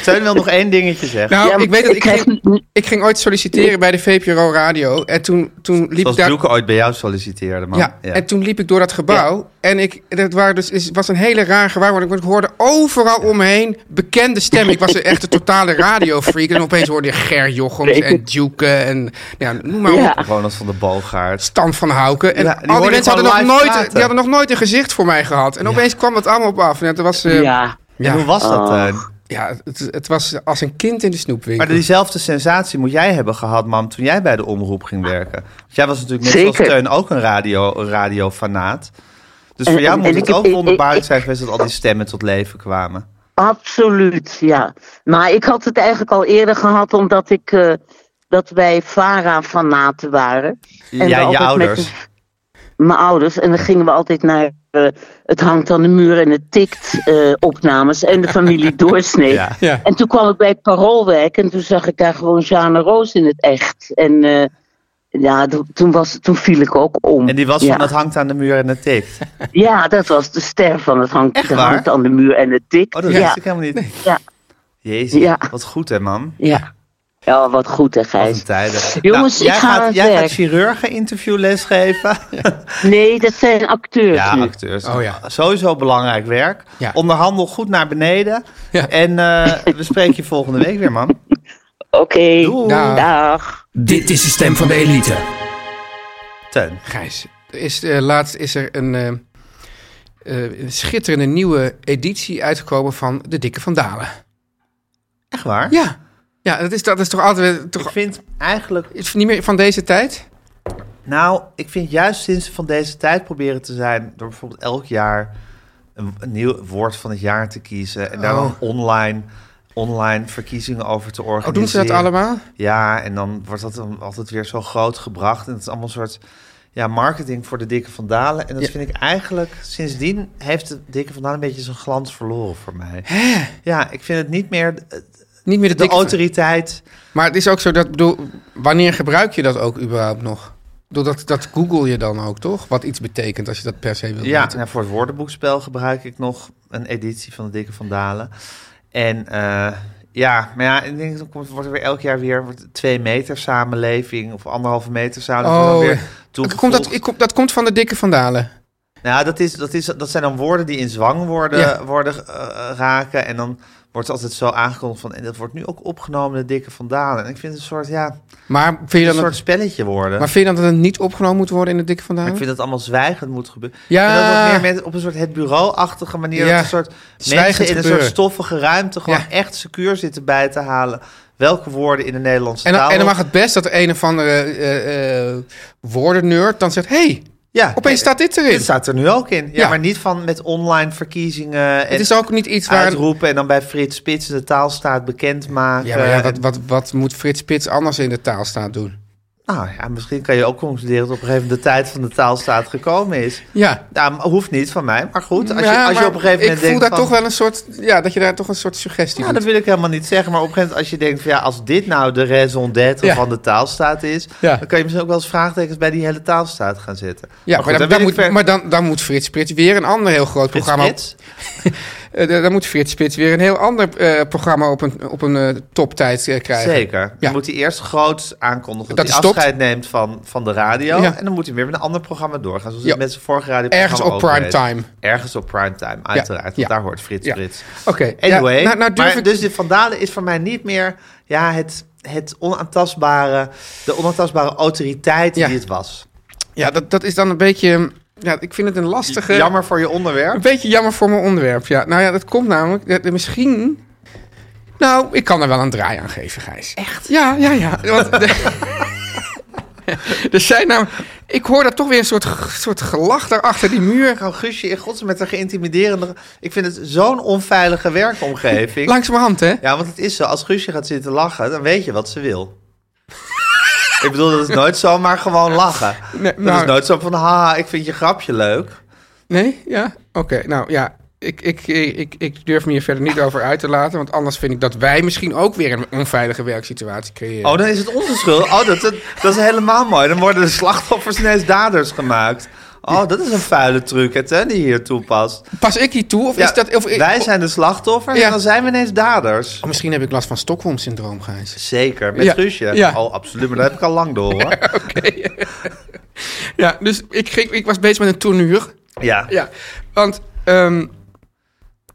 Speaker 2: Teun wil nou nog één dingetje zeggen.
Speaker 3: Nou,
Speaker 7: Ja, maar
Speaker 3: ik weet dat
Speaker 7: ik
Speaker 3: ik
Speaker 7: krijg
Speaker 3: ging,
Speaker 7: n-
Speaker 3: ik ging ooit solliciteren bij de VPRO Radio. En toen, toen liep
Speaker 2: Zoals
Speaker 3: daar...
Speaker 2: Doeke ooit bij jou solliciteerde, man.
Speaker 3: Ja, en toen liep ik door dat gebouw. En ik, dat waren dus, is- was een hele raar gewaarwording. Want ik hoorde overal omheen bekende stemmen. Ik was een echte
Speaker 2: (laughs)
Speaker 3: totale radiofreak. En opeens hoorde je Ger Jochems en Duke en ja, noem maar op.
Speaker 7: Ja.
Speaker 2: Gewoon als van de Bogaard.
Speaker 3: Stan van Houken. En
Speaker 2: Ja, die
Speaker 3: al die
Speaker 2: hoorde
Speaker 3: mensen
Speaker 2: ik
Speaker 3: hadden nog,
Speaker 2: gewoon live
Speaker 3: nooit,
Speaker 2: praten.
Speaker 3: die hadden nog nooit een gezicht voor mij gehad. En opeens kwam dat allemaal op af. En het was, eh, ja.
Speaker 7: Ja,
Speaker 2: En hoe
Speaker 3: Ja,
Speaker 2: was dat,
Speaker 7: Oh.
Speaker 2: eh? Teun?
Speaker 3: het, het was als een kind in de snoepwinkel.
Speaker 2: Maar diezelfde sensatie moet jij hebben gehad, mam, toen jij bij de omroep ging werken. Want jij was natuurlijk net zoals
Speaker 7: Zeker.
Speaker 2: Teun ook een radio, een radiofanaat. Dus
Speaker 7: En-
Speaker 2: voor jou
Speaker 7: en-
Speaker 2: moet
Speaker 7: en
Speaker 2: het
Speaker 7: ik heb-
Speaker 2: ook
Speaker 7: ik-
Speaker 2: wonderbaarlijk
Speaker 7: ik-
Speaker 2: zijn geweest dat al die stemmen tot leven kwamen.
Speaker 7: absoluut, ja. Maar ik had het eigenlijk al eerder gehad omdat ik, eh, dat wij Vara van Naten waren. En we
Speaker 2: Jij, je
Speaker 7: altijd
Speaker 2: ouders.
Speaker 7: Met mijn ouders. En dan gingen we altijd naar eh, het hangt aan de muur en het tikt eh, opnames. En de
Speaker 3: (laughs)
Speaker 7: familie doorsnee.
Speaker 2: Ja.
Speaker 3: Ja.
Speaker 7: En toen kwam ik bij het Paroolwijk en toen zag ik daar gewoon Jeanne Roos in het echt. En eh, ja, do- toen, was, toen viel ik ook om.
Speaker 2: En die was
Speaker 7: ja.
Speaker 2: van het hangt aan de muur en het tikt.
Speaker 7: Ja, dat was de ster van het hangt,
Speaker 2: Echt
Speaker 7: het
Speaker 2: waar?
Speaker 7: hangt aan de muur en het tikt.
Speaker 2: Oh, dat
Speaker 7: ja,
Speaker 2: wist ik helemaal niet.
Speaker 7: Ja.
Speaker 2: Jezus,
Speaker 7: Ja.
Speaker 2: wat goed hè, mam.
Speaker 7: ja. ja, wat goed hè
Speaker 2: Wat een
Speaker 7: Gijs.
Speaker 2: tijden. Nou,
Speaker 7: Jongens,
Speaker 2: jij
Speaker 7: ik ga aan
Speaker 2: gaat,
Speaker 7: het
Speaker 2: jij
Speaker 7: werk.
Speaker 2: gaat chirurgen interviewles geven.
Speaker 7: Nee, dat zijn acteurs
Speaker 2: Ja,
Speaker 7: nu.
Speaker 2: acteurs.
Speaker 3: Oh ja.
Speaker 2: Sowieso belangrijk werk.
Speaker 3: Ja.
Speaker 2: Onderhandel goed naar beneden.
Speaker 3: Ja.
Speaker 2: En eh, we spreken je volgende week weer, man.
Speaker 7: Oké,
Speaker 2: Doei.
Speaker 3: Dag.
Speaker 7: dag.
Speaker 5: Dit is de stem van de elite.
Speaker 2: Teun.
Speaker 3: Gijs, er is, eh, laatst is er een, eh, eh, een schitterende nieuwe editie uitgekomen van De Dikke van Dalen.
Speaker 2: Echt waar?
Speaker 3: Ja, ja dat, is, dat is toch altijd...
Speaker 2: Ik
Speaker 3: Toch,
Speaker 2: vind eigenlijk...
Speaker 3: is niet meer van deze tijd? Oh,
Speaker 2: Nou, ik vind juist sinds ze van deze tijd proberen te zijn... door bijvoorbeeld elk jaar een, een nieuw woord van het jaar te kiezen... en daar dan online, online verkiezingen over te
Speaker 3: Oh,
Speaker 2: organiseren.
Speaker 3: doen ze dat allemaal?
Speaker 2: Ja, en dan wordt dat dan altijd weer zo groot gebracht. En het is allemaal een soort ja, marketing voor de Dikke Van Dalen. En dat
Speaker 3: Ja.
Speaker 2: vind ik eigenlijk... Sindsdien heeft de Dikke Van Dalen een beetje zijn glans verloren voor mij. Ja, ik vind het niet meer eh,
Speaker 3: Niet meer de,
Speaker 2: de
Speaker 3: dikke van-
Speaker 2: autoriteit...
Speaker 3: Maar het is ook zo dat, bedoel, wanneer gebruik je dat ook überhaupt nog? Bedoel, dat, dat google je dan ook, toch? Wat iets betekent als je dat per se wil
Speaker 2: Ja,
Speaker 3: weten.
Speaker 2: nou, voor het woordenboekspel gebruik ik nog een editie van de Dikke van Dalen. En eh, ja, maar ja, ik denk, dan komt- wordt er weer elk jaar weer wordt twee meter samenleving of anderhalve meter samenleving.
Speaker 3: Oh,
Speaker 2: dan weer
Speaker 3: ja. Komt dat,
Speaker 2: toegevoegd.
Speaker 3: ik, kom- dat komt van de dikke vandalen.
Speaker 2: Nou, dat, is, dat, is, dat zijn dan woorden die in zwang worden,
Speaker 3: Ja.
Speaker 2: worden eh, raken. En dan wordt het altijd zo aangekondigd van, en dat wordt nu ook opgenomen, de Dikke van Dalen. En ik vind het een soort, ja,
Speaker 3: Maar vind, je
Speaker 2: een
Speaker 3: dan
Speaker 2: soort
Speaker 3: dat,
Speaker 2: spelletje worden.
Speaker 3: maar vind je dan dat het niet opgenomen moet worden in de dikke
Speaker 2: Maar
Speaker 3: vandalen?
Speaker 2: ik vind dat allemaal zwijgend moet gebeuren.
Speaker 3: Ja.
Speaker 2: En dat ook meer met, op een soort het bureau-achtige manier.
Speaker 3: Ja.
Speaker 2: Dat een soort
Speaker 3: Zwijgend
Speaker 2: mensen in een
Speaker 3: gebeuren.
Speaker 2: soort stoffige ruimte gewoon
Speaker 3: Ja.
Speaker 2: echt secuur zitten bij te halen. Welke woorden in de Nederlandse
Speaker 3: en, dan,
Speaker 2: taal.
Speaker 3: en dan mag het best dat er een of andere eh, eh, woordenneurt dan zegt... hey,
Speaker 2: ja,
Speaker 3: opeens staat dit erin.
Speaker 2: Dit staat er nu ook in. Ja,
Speaker 3: Ja.
Speaker 2: maar niet van met online verkiezingen en
Speaker 3: het is ook niet iets waar...
Speaker 2: uitroepen. En dan bij Frits Spits de taalstaat bekendmaken.
Speaker 3: Ja, maar ja, wat,
Speaker 2: En-
Speaker 3: wat, wat moet Frits Spits anders in de taalstaat doen?
Speaker 2: nou ja, misschien kan je ook concluderen dat op een gegeven moment de tijd van de taalstaat gekomen is.
Speaker 3: Ja,
Speaker 2: Nou, hoeft niet van mij, maar goed. Als je,
Speaker 3: Ja,
Speaker 2: als je
Speaker 3: maar
Speaker 2: op een gegeven moment
Speaker 3: ik voel
Speaker 2: denkt
Speaker 3: daar
Speaker 2: van-
Speaker 3: toch wel een soort... Ja, dat je daar toch een soort suggestie
Speaker 2: Ja,
Speaker 3: doet.
Speaker 2: dat wil ik helemaal niet zeggen. Maar op een gegeven moment, als je denkt, van, ja, als dit nou de raison d'être
Speaker 3: Ja.
Speaker 2: van de taalstaat is,
Speaker 3: Ja.
Speaker 2: dan kan je misschien ook wel eens vraagtekens bij die hele taalstaat gaan zetten.
Speaker 3: Ja, maar,
Speaker 2: goed,
Speaker 3: dan,
Speaker 2: daar
Speaker 3: dan
Speaker 2: wil ik
Speaker 3: moet,
Speaker 2: ver-
Speaker 3: maar dan, dan moet Frits Spits weer een ander heel groot
Speaker 2: Frits
Speaker 3: programma.
Speaker 2: Spits?
Speaker 3: eh, dan dan moet Frits Spits weer een heel ander eh, programma op een, op een eh, toptijd eh, krijgen.
Speaker 2: Zeker. Dan
Speaker 3: Ja.
Speaker 2: moet hij eerst groot aankondigen dat,
Speaker 3: Dat
Speaker 2: hij
Speaker 3: hij stopt.
Speaker 2: afscheid neemt van, van de radio.
Speaker 3: Ja.
Speaker 2: En dan moet hij weer met een ander programma doorgaan. Zoals
Speaker 3: Ja.
Speaker 2: het met zijn vorige radio.
Speaker 3: Ergens op primetime.
Speaker 2: Ergens op primetime, uiteraard. Want
Speaker 3: Ja.
Speaker 2: daar hoort Frits
Speaker 3: Ja.
Speaker 2: Frits.
Speaker 3: Oké, ja,
Speaker 2: Anyway,
Speaker 3: nou, nou durf
Speaker 2: maar
Speaker 3: ik-
Speaker 2: dus de Van Dalen is voor mij niet meer ja, het, het onaantastbare, de onaantastbare autoriteit
Speaker 3: Ja.
Speaker 2: die het was.
Speaker 3: Ja, dat, dat is dan een beetje... mm, Ja, ik vind het een lastige...
Speaker 2: Jammer voor je onderwerp.
Speaker 3: Een beetje jammer voor mijn onderwerp, ja. Nou ja, dat komt namelijk... dat- dat misschien... Nou, ik kan er wel een draai aan geven, Gijs. Echt? Ja, ja, ja. Want, (laughs) er zijn nou... Ik hoor daar toch weer een soort, soort gelach daar achter die muur.
Speaker 2: Ik hou Guusje in godsnaam met een geïntimiderende... Ik vind het zo'n onveilige werkomgeving.
Speaker 3: Langzamerhand, hè?
Speaker 2: Ja, want het is zo. Als Guusje gaat zitten lachen, dan weet je wat ze wil. ik bedoel, dat is nooit zomaar gewoon lachen.
Speaker 3: Nee,
Speaker 2: Dat
Speaker 3: nou-
Speaker 2: is nooit zo van, haha, ik vind je grapje leuk.
Speaker 3: Nee? Ja? Oké, nou ja. ik, ik, ik, ik durf me hier verder niet over uit te laten. Want anders vind ik dat wij misschien ook weer een onveilige werksituatie creëren.
Speaker 2: Oh, dan is het onze schuld. Oh, dat, dat, dat is helemaal mooi. Dan worden de slachtoffers ineens daders gemaakt. Oh, dat is een vuile truc, het, hè, die hier toepast.
Speaker 3: Pas ik hier toe? Of
Speaker 2: Ja,
Speaker 3: is dat, of,
Speaker 2: wij zijn de slachtoffers
Speaker 3: Ja.
Speaker 2: en dan zijn we ineens daders.
Speaker 3: Oh, misschien heb ik last van Stockholm-syndroom, Gijs.
Speaker 2: Zeker, met
Speaker 3: Ja,
Speaker 2: Guusje.
Speaker 3: ja.
Speaker 2: Oh, absoluut, maar dat heb ik al lang
Speaker 3: (laughs)
Speaker 2: door, hoor.
Speaker 3: Ja, dus ik, ging, ik was bezig met een tournuur.
Speaker 2: Ja.
Speaker 3: Ja, want ehm,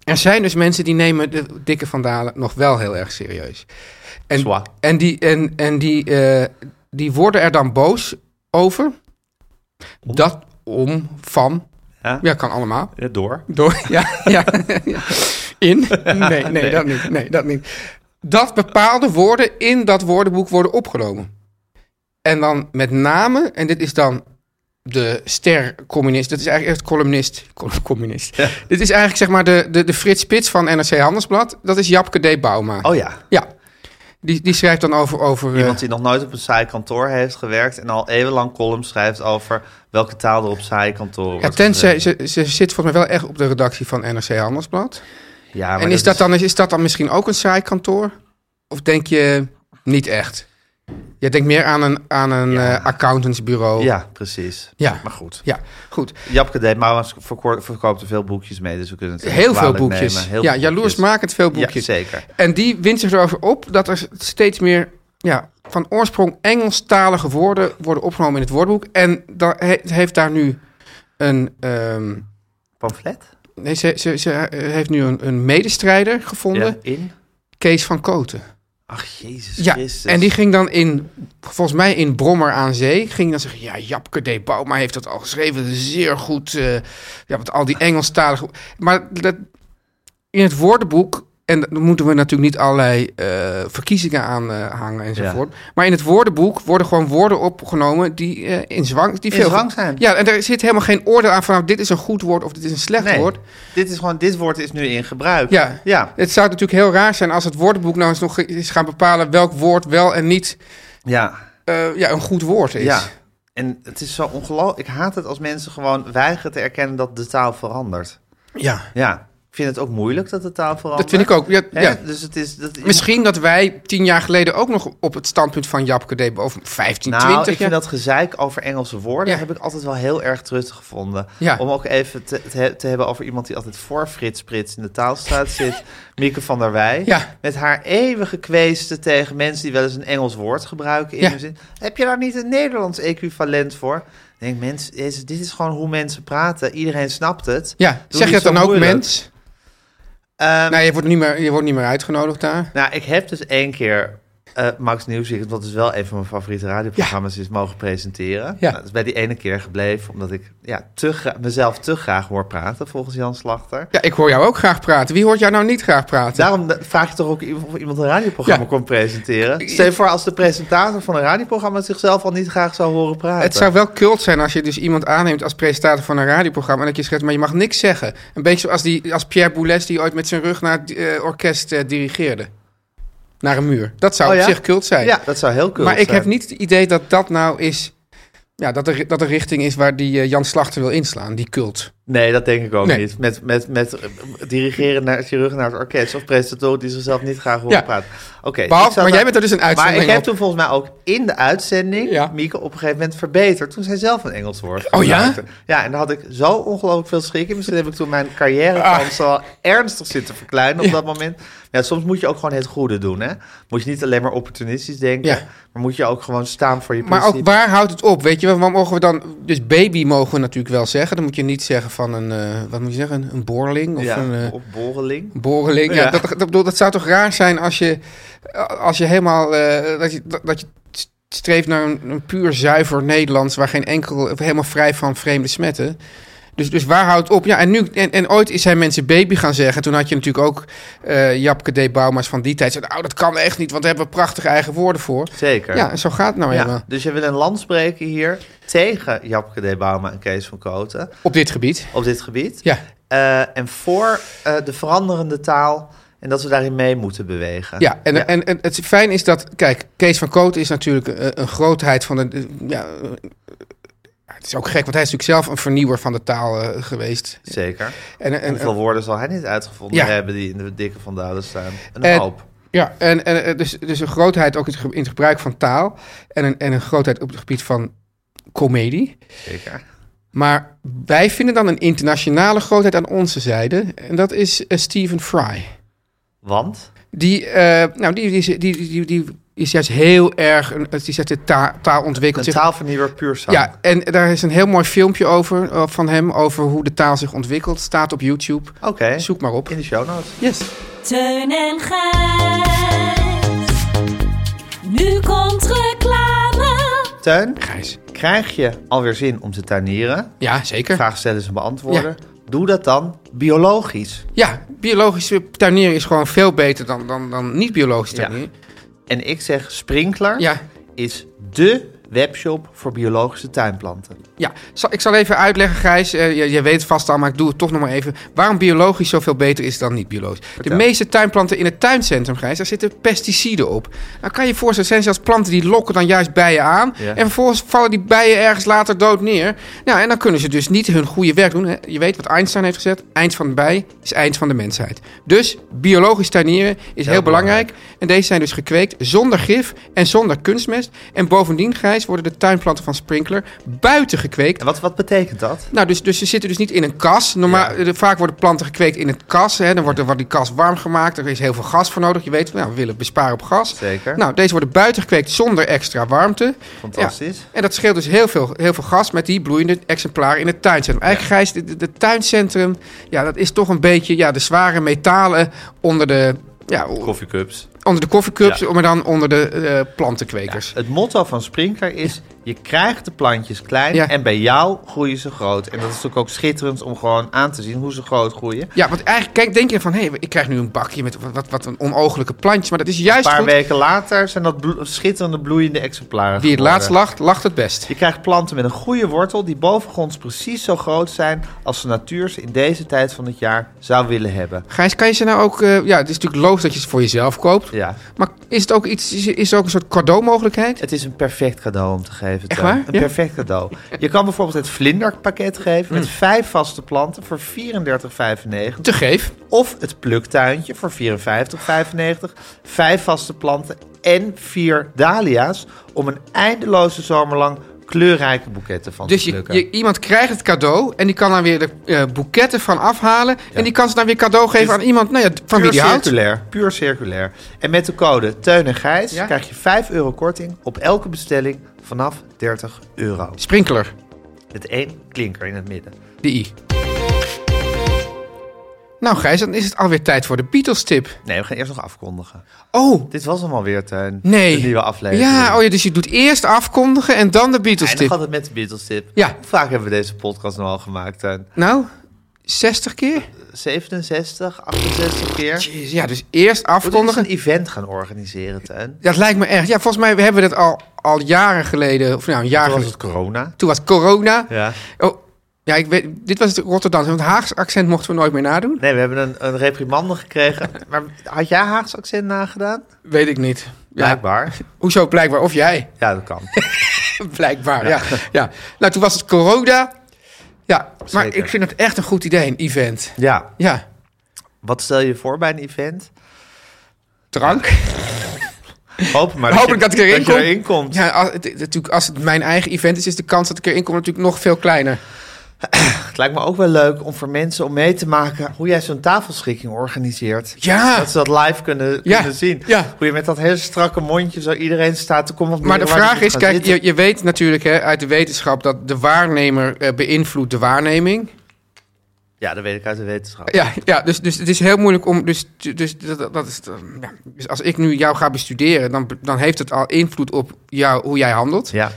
Speaker 3: er zijn dus mensen die nemen de dikke vandalen nog wel heel erg serieus. En,
Speaker 2: Zwaar.
Speaker 3: en, die, en, en die, eh, die worden er dan boos over. Dat om, van,
Speaker 2: Ja.
Speaker 3: ja, kan allemaal.
Speaker 2: Ja, door.
Speaker 3: Door, (laughs) ja, ja, ja. In? Nee, nee, dat niet. Nee, dat niet. Dat bepaalde woorden in dat woordenboek worden opgenomen. En dan met name, en dit is dan de ster-communist, dat is eigenlijk echt columnist. col- Communist. Dit is eigenlijk zeg maar de, de, de Frits Spits van NRC Handelsblad. Dat is Japke D. Bauma.
Speaker 2: Oh ja,
Speaker 3: Ja, die, die schrijft dan over... over eh,
Speaker 2: iemand die nog nooit op een saai kantoor heeft gewerkt... en al eeuwenlang columns schrijft over welke taal er op saai kantoor
Speaker 3: ja,
Speaker 2: wordt eh,
Speaker 3: tenzij,
Speaker 2: geschreven.
Speaker 3: ze, ze zit volgens mij wel echt op de redactie van NRC Handelsblad.
Speaker 2: Ja, maar
Speaker 3: En is dat, dan, is dat dan misschien ook een saai kantoor? Of denk je niet echt? Je denkt meer aan een, aan een
Speaker 2: Ja.
Speaker 3: eh, accountantsbureau.
Speaker 2: Ja, precies.
Speaker 3: ja.
Speaker 2: Maar goed.
Speaker 3: Ja, goed.
Speaker 2: Japke deed, maar was- verkoor- verkoopt er veel boekjes mee, dus we kunnen het echt
Speaker 3: Heel veel
Speaker 2: kwalijk
Speaker 3: boekjes.
Speaker 2: nemen. Heel
Speaker 3: ja,
Speaker 2: veel boekjes.
Speaker 3: jaloersmakend veel boekjes.
Speaker 2: Ja, zeker.
Speaker 3: en die wint zich erover op dat er steeds meer ja, van oorsprong Engelstalige woorden worden opgenomen in het woordenboek. En dat he- heeft daar nu een. ehm,
Speaker 2: Pamflet?
Speaker 3: nee, ze, ze, ze eh, heeft nu een, een medestrijder gevonden,
Speaker 2: Ja, in?
Speaker 3: Kees van Koten.
Speaker 2: Ach, Jezus
Speaker 3: Ja,
Speaker 2: Christus.
Speaker 3: en die ging dan in, volgens mij in Brommer aan Zee, ging dan zeggen, ja, Japke de Bauma heeft dat al geschreven, zeer goed, eh, ja, want al die Engelstalige... Maar dat, in het woordenboek, en daar moeten we natuurlijk niet allerlei eh, verkiezingen aan eh, hangen enzovoort, maar in het woordenboek worden gewoon woorden opgenomen die eh, in zwang... Die
Speaker 2: In
Speaker 3: veel,
Speaker 2: zwang zijn.
Speaker 3: Ja, en er zit helemaal geen oordeel aan van, nou, dit is een goed woord of dit is een slecht
Speaker 2: Nee,
Speaker 3: woord.
Speaker 2: dit, is gewoon, dit woord is nu in gebruik.
Speaker 3: Ja.
Speaker 2: Ja,
Speaker 3: Het zou natuurlijk heel raar zijn als het woordenboek nou eens nog eens gaan bepalen welk woord wel en niet
Speaker 2: ja,
Speaker 3: eh, ja, een goed woord is.
Speaker 2: ja. En het is zo ongelooflijk. Ik haat het als mensen gewoon weigeren te erkennen dat de taal verandert.
Speaker 3: Ja,
Speaker 2: Ja, ik vind het ook moeilijk dat de taal verandert.
Speaker 3: dat vind ik ook. Ja,
Speaker 2: Hè?
Speaker 3: ja.
Speaker 2: Dus het is... Dat,
Speaker 3: Misschien dat wij tien jaar geleden ook nog op het standpunt van Japke Debo, of 15,
Speaker 2: Nou,
Speaker 3: 20
Speaker 2: ik vind
Speaker 3: jaar.
Speaker 2: dat gezeik over Engelse woorden
Speaker 3: Ja.
Speaker 2: heb ik altijd wel heel erg truttig gevonden.
Speaker 3: Ja.
Speaker 2: Om ook even te, te, he- te hebben over iemand die altijd voor Frits Prits in de taalstraat
Speaker 3: (laughs)
Speaker 2: zit. Mieke van der Wij.
Speaker 3: Ja.
Speaker 2: Met haar eeuwige kweesten tegen mensen die wel eens een Engels woord gebruiken in
Speaker 3: Ja.
Speaker 2: hun zin. Heb je daar niet een Nederlands equivalent voor? Ik denk, mens, deze- dit is gewoon hoe mensen praten. Iedereen snapt het.
Speaker 3: Ja,
Speaker 2: Doe
Speaker 3: zeg je
Speaker 2: niet
Speaker 3: dat
Speaker 2: zo
Speaker 3: dan ook,
Speaker 2: moeilijk.
Speaker 3: mens?
Speaker 2: Ehm,
Speaker 3: Nee, je wordt, niet meer, je wordt niet meer uitgenodigd daar.
Speaker 2: Nou, ik heb dus één keer eh, Max Nieuwsweek, wat dus wel een van mijn favoriete radioprogramma's is, mogen presenteren.
Speaker 3: Ja.
Speaker 2: Nou, dat is bij die ene keer gebleven, omdat ik ja, te gra- mezelf te graag hoor praten, volgens Jan Slachter.
Speaker 3: Ja, ik hoor jou ook graag praten. Wie hoort jou nou niet graag praten?
Speaker 2: Daarom da- vraag je toch ook i- of iemand een radioprogramma
Speaker 3: Ja.
Speaker 2: kon presenteren. Stel je voor als de presentator van een radioprogramma zichzelf al niet graag zou horen praten.
Speaker 3: het zou wel cult zijn als je dus iemand aanneemt als presentator van een radioprogramma... en dat je schrijft, maar je mag niks zeggen. Een beetje zoals die, als Pierre Boulez die ooit met zijn rug naar het eh, orkest eh, dirigeerde. Naar een muur. Dat zou
Speaker 2: Oh
Speaker 3: op
Speaker 2: ja?
Speaker 3: zich cult zijn.
Speaker 2: Ja, dat zou heel cool
Speaker 3: maar ik
Speaker 2: zijn.
Speaker 3: heb niet het idee dat dat nou is. Ja, dat er, dat er richting is waar die eh, Jan Slachter wil inslaan, die cult.
Speaker 2: Nee, dat denk ik ook
Speaker 3: Nee.
Speaker 2: niet. Met, met, met eh, dirigeren naar, chirurg naar het orkest of presentatoren die zichzelf niet graag horen
Speaker 3: Ja.
Speaker 2: praten. Oké, ik
Speaker 3: Behalve,
Speaker 2: zou
Speaker 3: maar
Speaker 2: daar-
Speaker 3: jij bent er dus een
Speaker 2: Maar ik
Speaker 3: uitzondering
Speaker 2: heb
Speaker 3: op.
Speaker 2: toen volgens mij ook in de uitzending
Speaker 3: Ja.
Speaker 2: Mieke op een gegeven moment verbeterd. Toen zij zelf een Engels woord
Speaker 3: Oh ja?
Speaker 2: gebruikte. Ja, en daar had ik zo ongelooflijk veel schrik in. Misschien heb ik toen mijn carrière
Speaker 3: Ah.
Speaker 2: al ernstig zitten verkleinen op dat moment. Ja, soms moet je ook gewoon het goede doen, hè? Moet je niet alleen maar opportunistisch denken,
Speaker 3: Ja.
Speaker 2: maar moet je ook gewoon staan voor je
Speaker 3: Maar
Speaker 2: principe.
Speaker 3: ook waar houdt het op? Weet je, wel? wat mogen we dan. Dus baby mogen we natuurlijk wel zeggen. Dan moet je niet zeggen van een. eh, wat moet je zeggen? Een borling? Of
Speaker 2: ja,
Speaker 3: een. eh,
Speaker 2: op borreling.
Speaker 3: borreling. Ja,
Speaker 2: Ja.
Speaker 3: Dat, dat, bedoel, dat zou toch raar zijn als je. Als je helemaal. eh, dat, je, dat, dat je streeft naar een, een puur zuiver Nederlands. waar geen enkel. of helemaal vrij van vreemde smetten. Dus, dus waar houdt het op? Ja, en, nu, en, en ooit zijn mensen baby gaan zeggen. Toen had je natuurlijk ook eh, Japke D. Bouwma's van die tijd. Zeiden, oh, dat kan echt niet, want daar hebben we prachtige eigen woorden voor.
Speaker 2: Zeker.
Speaker 3: Ja, en zo gaat het nou
Speaker 2: Ja,
Speaker 3: helemaal
Speaker 2: dus je wil een land spreken hier tegen Japke de Bauma en Kees van Koten
Speaker 3: op dit gebied.
Speaker 2: op dit gebied.
Speaker 3: Ja,
Speaker 2: Eh, en voor eh, de veranderende taal. En dat we daarin mee moeten bewegen.
Speaker 3: ja. En, En, en het fijn is dat, kijk, Kees van Koot is natuurlijk eh, een grootheid van de, eh, ja, eh, is ook gek, want hij is natuurlijk zelf een vernieuwer van de taal eh, geweest.
Speaker 2: Zeker.
Speaker 3: En, en,
Speaker 2: Hoeveel woorden zal hij niet uitgevonden
Speaker 3: Ja.
Speaker 2: hebben die in de dikke van Dalen staan? Een
Speaker 3: Eh,
Speaker 2: hoop.
Speaker 3: Ja, en, en eh, dus, dus een grootheid ook in het ge- in het gebruik van taal. En een, en een grootheid op het gebied van komedie.
Speaker 2: Zeker.
Speaker 3: Maar wij vinden dan een internationale grootheid aan onze zijde. En dat is eh, Stephen Fry.
Speaker 2: Want?
Speaker 3: Die, eh, nou, die, die, is- die, die, die is juist heel erg. een- Die zegt de ta- taal ontwikkelt
Speaker 2: Een
Speaker 3: zich.
Speaker 2: taalvernieuwer puur zang.
Speaker 3: Ja, en daar is een heel mooi filmpje over eh, van hem. Over hoe de taal zich ontwikkelt. Staat op YouTube.
Speaker 2: Oké.
Speaker 3: Zoek maar op.
Speaker 2: In de show notes.
Speaker 3: Yes.
Speaker 6: Teun en Gijs. Nu komt reclame.
Speaker 2: Teun,
Speaker 3: Gijs.
Speaker 2: krijg je alweer zin om te tuinieren?
Speaker 3: Ja, zeker.
Speaker 2: Vragen stellen en beantwoorden. Doe dat dan biologisch.
Speaker 3: Ja, biologische tuinieren is gewoon veel beter dan, dan, dan niet-biologische
Speaker 2: Ja.
Speaker 3: tuinieren.
Speaker 2: En ik zeg Sprinkler
Speaker 3: Ja.
Speaker 2: is dé webshop voor biologische tuinplanten.
Speaker 3: Ja, zal- ik zal even uitleggen, Gijs. Eh, je, je weet het vast al, maar ik doe het toch nog maar even. Waarom biologisch zoveel beter is dan niet biologisch. De meeste tuinplanten in het tuincentrum, Gijs, daar zitten pesticiden op. Dan kan je je voorstellen, het zijn zelfs planten die lokken dan juist bijen aan.
Speaker 2: Ja.
Speaker 3: En vervolgens vallen die bijen ergens later dood neer. Nou, en dan kunnen ze dus niet hun goede werk doen. hè. Je weet wat Einstein heeft gezegd. Eind van de bij is eind van de mensheid. Dus biologisch tuinieren is heel, belangrijk. En deze zijn dus gekweekt zonder gif en zonder kunstmest. En bovendien, Gijs, worden de tuinplanten van Sprinkler buiten gekweekt.
Speaker 2: En wat, wat betekent dat?
Speaker 3: Nou, dus, dus ze zitten dus niet in een kas. Normaal, eh, Vaak worden planten gekweekt in een kas. Hè. Dan wordt, er- wordt die kas warm gemaakt. Er is heel veel gas voor nodig. Je weet, nou, we willen besparen op gas.
Speaker 2: Zeker.
Speaker 3: Nou, deze worden buiten gekweekt zonder extra warmte.
Speaker 2: Fantastisch.
Speaker 3: En dat scheelt dus heel veel, heel veel gas met die bloeiende exemplaren in het tuincentrum. Eigenlijk, Gijs, de, de- de tuincentrum, ja, dat is toch een beetje ja, de zware metalen onder de, ja, o-
Speaker 2: Koffiecups.
Speaker 3: onder de koffiecups,
Speaker 2: Ja.
Speaker 3: maar dan onder de eh, plantenkwekers.
Speaker 2: Het motto van Sprinkler is: je krijgt de plantjes klein
Speaker 3: Ja.
Speaker 2: en bij jou groeien ze groot. En dat is natuurlijk ook schitterend om gewoon aan te zien hoe ze groot groeien.
Speaker 3: Ja, want eigenlijk kijk, denk je van, hé, ik krijg nu een bakje met wat, wat, wat een onogelijke plantjes. Maar dat is
Speaker 2: Een
Speaker 3: juist
Speaker 2: paar
Speaker 3: goed.
Speaker 2: weken later zijn dat blo- schitterende bloeiende exemplaren.
Speaker 3: Wie het
Speaker 2: geworden.
Speaker 3: laatst lacht, lacht het best.
Speaker 2: Je krijgt planten met een goede wortel die bovengronds precies zo groot zijn als de natuur ze in deze tijd van het jaar zou willen hebben.
Speaker 3: Gijs, kan je ze nou ook... eh, ja, het is natuurlijk logisch dat je ze voor jezelf koopt.
Speaker 2: Ja,
Speaker 3: Maar is het ook iets... Is, is er ook een soort cadeaumogelijkheid?
Speaker 2: het is een perfect cadeau om te geven.
Speaker 3: Echt
Speaker 2: Teun.
Speaker 3: waar?
Speaker 2: Een
Speaker 3: Ja?
Speaker 2: perfect cadeau. Je kan bijvoorbeeld het vlinderpakket geven
Speaker 3: Hmm.
Speaker 2: met vijf vaste planten voor 34,95.
Speaker 3: Te geef.
Speaker 2: Of het pluktuintje voor 54,95. Vijf vaste planten en vier dahlia's om een eindeloze zomer lang kleurrijke boeketten van
Speaker 3: Dus
Speaker 2: te
Speaker 3: je,
Speaker 2: plukken.
Speaker 3: je- iemand krijgt het cadeau en die kan dan weer de eh, boeketten van afhalen. En die kan ze dan weer cadeau geven
Speaker 2: Dus
Speaker 3: aan iemand nou ja, d- van
Speaker 2: puur
Speaker 3: wie die houdt.
Speaker 2: circulair, puur circulair. En met de code Teun en Gijs
Speaker 3: Ja?
Speaker 2: krijg je 5 euro korting op elke bestelling vanaf 30 euro.
Speaker 3: Sprinkler,
Speaker 2: Met één klinker in het midden.
Speaker 3: de I. Nou Gijs, dan is het alweer tijd voor de Beatles tip.
Speaker 2: Nee, we gaan eerst nog afkondigen.
Speaker 3: Oh,
Speaker 2: Dit was hem alweer, Teun.
Speaker 3: nee.
Speaker 2: De nieuwe aflevering.
Speaker 3: Ja, oh ja, dus je doet eerst afkondigen en dan de Beatles
Speaker 2: En dan
Speaker 3: tip.
Speaker 2: gaat het met de Beatles tip.
Speaker 3: Ja.
Speaker 2: Hoe vaak hebben we deze podcast nou al gemaakt, Teun?
Speaker 3: Nou, 60 keer?
Speaker 2: 67, 68 keer?
Speaker 3: Jeez, ja, dus eerst
Speaker 2: Moeten we
Speaker 3: afkondigen.
Speaker 2: eens een event gaan organiseren, Teun?
Speaker 3: Dat lijkt me erg. Ja, volgens mij hebben we dat al, al jaren geleden, of nou een jaar
Speaker 2: Toen was
Speaker 3: geleden.
Speaker 2: het corona.
Speaker 3: Toen was corona.
Speaker 2: Ja.
Speaker 3: Oh, ja, ik weet, dit was het Rotterdamse, want Haagse accent mochten we nooit meer nadoen.
Speaker 2: Nee, we hebben een, een reprimande gekregen. Maar had jij Haags accent nagedaan?
Speaker 3: Weet ik niet. Ja,
Speaker 2: Blijkbaar.
Speaker 3: hoezo blijkbaar? Of jij?
Speaker 2: Ja, dat
Speaker 3: (laughs)
Speaker 2: kan.
Speaker 3: blijkbaar, ja. ja. Nou, toen was het corona. Ja, maar
Speaker 2: Zeker.
Speaker 3: ik vind het echt een goed idee, een event.
Speaker 2: Ja.
Speaker 3: Ja,
Speaker 2: Wat stel je voor bij een event?
Speaker 3: drank.
Speaker 2: Hoop maar
Speaker 3: Hoop ik dat ik erin
Speaker 2: dat je
Speaker 3: kom.
Speaker 2: erin komt.
Speaker 3: Ja, als, het, het- natuurlijk, als het mijn eigen event is, is de kans dat ik erin kom natuurlijk nog veel kleiner.
Speaker 2: Het lijkt me ook wel leuk om voor mensen om mee te maken hoe jij zo'n tafelschikking organiseert.
Speaker 3: Ja.
Speaker 2: Dat ze dat live kunnen,
Speaker 3: Ja,
Speaker 2: kunnen zien.
Speaker 3: ja.
Speaker 2: Hoe je met dat hele strakke mondje zo iedereen staat te komen. op
Speaker 3: Maar de
Speaker 2: waar je
Speaker 3: vraag
Speaker 2: moet
Speaker 3: is,
Speaker 2: gaan
Speaker 3: kijk,
Speaker 2: zitten.
Speaker 3: je, je weet natuurlijk hè, uit de wetenschap dat de waarnemer eh, beïnvloedt de waarneming.
Speaker 2: Ja, dat weet ik uit de wetenschap.
Speaker 3: Ja, ja dus, dus het is heel moeilijk om. Dus, dus, dat, dat is, ja, dus als ik nu jou ga bestuderen, dan, dan heeft het al invloed op jou, hoe jij handelt.
Speaker 2: Ja.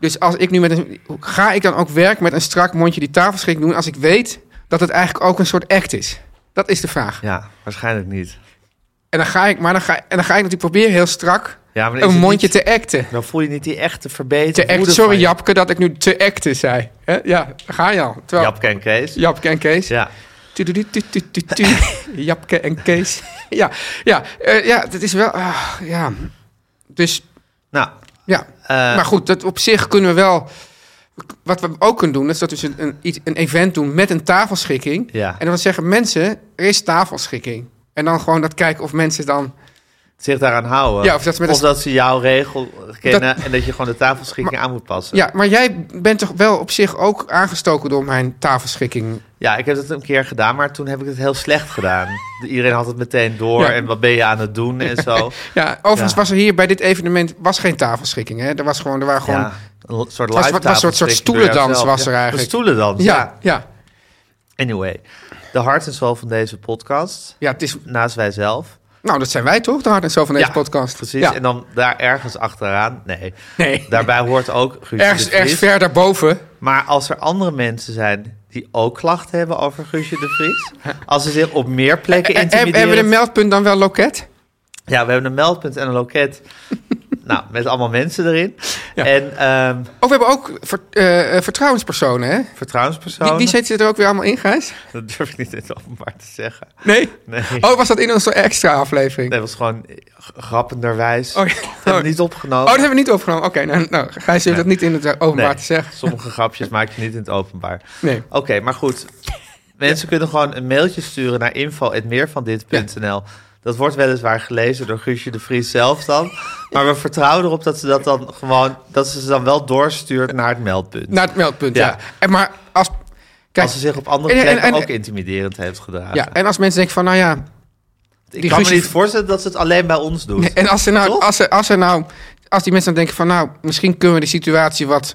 Speaker 3: Dus als ik nu met een, ga ik dan ook werk met een strak mondje die tafelschik doen, als ik weet dat het eigenlijk ook een soort act is? Dat is de vraag.
Speaker 2: ja, waarschijnlijk niet.
Speaker 3: En dan ga ik, maar dan ga, en dan ga ik natuurlijk proberen heel strak
Speaker 2: Ja, maar dan is
Speaker 3: een
Speaker 2: het
Speaker 3: mondje
Speaker 2: niet-
Speaker 3: te acten.
Speaker 2: Dan voel je niet die echte verbetering.
Speaker 3: Te acten. Sorry Japke dat ik nu te acten zei. Hè? Ja, daar ga je al. Terwijl,
Speaker 2: Japke en Kees.
Speaker 3: Japke en Kees.
Speaker 2: Ja. (laughs)
Speaker 3: Tududududududu. Japke en Kees. ja, ja, eh, ja, dat is wel. ah, ja. Dus
Speaker 2: Nou,
Speaker 3: ja.
Speaker 2: eh,
Speaker 3: maar goed, dat op zich kunnen we wel. We Wat we ook kunnen doen, is dat we dus een, iets- een event doen met een tafelschikking.
Speaker 2: Ja.
Speaker 3: En dan wat zeggen mensen, er is tafelschikking. En dan gewoon dat kijken of mensen dan...
Speaker 2: zich daaraan houden.
Speaker 3: Ja, of dat ze met een-
Speaker 2: ze jouw regel kennen en dat je gewoon de tafelschikking aan moet passen.
Speaker 3: Ja, maar jij bent toch wel op zich ook aangestoken door mijn tafelschikking.
Speaker 2: Ja, ik heb dat een keer gedaan, maar toen heb ik het heel slecht gedaan. Iedereen had het meteen door
Speaker 3: Ja.
Speaker 2: en wat ben je aan het doen en zo.
Speaker 3: Ja, overigens
Speaker 2: Ja.
Speaker 3: was er hier bij dit evenement was geen tafelschikking. Hè? Er was gewoon, er waren gewoon...
Speaker 2: Ja, een soort
Speaker 3: was-
Speaker 2: live
Speaker 3: was een soort- soort
Speaker 2: tafelschikking door
Speaker 3: stoelendans
Speaker 2: jouzelf.
Speaker 3: was er
Speaker 2: Ja, een
Speaker 3: eigenlijk.
Speaker 2: stoelendans, ja.
Speaker 3: ja, ja.
Speaker 2: Anyway, de hart en ziel van deze podcast,
Speaker 3: Ja, het is,
Speaker 2: naast wij zelf.
Speaker 3: nou, dat zijn wij toch, de hart en zo van deze
Speaker 2: Ja,
Speaker 3: podcast.
Speaker 2: Precies,
Speaker 3: Ja.
Speaker 2: en dan daar ergens achteraan. Nee,
Speaker 3: nee.
Speaker 2: daarbij hoort ook Guusje
Speaker 3: ergens,
Speaker 2: de Vries.
Speaker 3: ergens ver daarboven.
Speaker 2: Maar als er andere mensen zijn die ook klachten hebben over Guusje de Vries... als ze zich op meer plekken
Speaker 3: Eh, eh,
Speaker 2: intimideren...
Speaker 3: Hebben we een meldpunt dan wel loket?
Speaker 2: Ja, we hebben een meldpunt en een
Speaker 3: (laughs)
Speaker 2: loket. nou, met allemaal mensen erin.
Speaker 3: Ja.
Speaker 2: En ehm
Speaker 3: Oh, we hebben ook ver- eh, eh, vertrouwenspersonen, hè? Wie,
Speaker 2: vertrouwenspersonen.
Speaker 3: wie zitten er ook weer allemaal in, Gijs?
Speaker 2: Dat durf ik niet in het openbaar te zeggen.
Speaker 3: Nee?
Speaker 2: Nee,
Speaker 3: Oh, was dat in onze extra aflevering?
Speaker 2: dat was gewoon g- grappenderwijs.
Speaker 3: Oh, ja.
Speaker 2: Dat hebben we niet
Speaker 3: Oh,
Speaker 2: opgenomen.
Speaker 3: dat hebben we niet opgenomen. Oké, nou, nou, Gijs heeft dat niet in het eh, openbaar
Speaker 2: Nee,
Speaker 3: te zeggen.
Speaker 2: Sommige grapjes maak je niet in het openbaar.
Speaker 3: Nee.
Speaker 2: Oké, maar goed. Mensen kunnen gewoon een mailtje sturen naar info.meervandit.nl. Dat wordt weliswaar gelezen door Guusje de Vries zelf dan. Maar we vertrouwen erop dat ze dat dan gewoon... dat ze ze dan wel doorstuurt naar het meldpunt.
Speaker 3: Naar het meldpunt, ja.
Speaker 2: Ja.
Speaker 3: En maar als... Kijk,
Speaker 2: als ze zich op andere
Speaker 3: en- en-
Speaker 2: plekken
Speaker 3: en-
Speaker 2: ook intimiderend heeft gedragen.
Speaker 3: ja, en als mensen denken van, nou ja...
Speaker 2: ik
Speaker 3: die
Speaker 2: kan
Speaker 3: Guusje-
Speaker 2: me niet voorstellen dat ze het alleen bij ons doet.
Speaker 3: Nee, en als ze nou,
Speaker 2: Toch?
Speaker 3: als ze, als ze nou, als die mensen dan denken van, nou, misschien kunnen we de situatie wat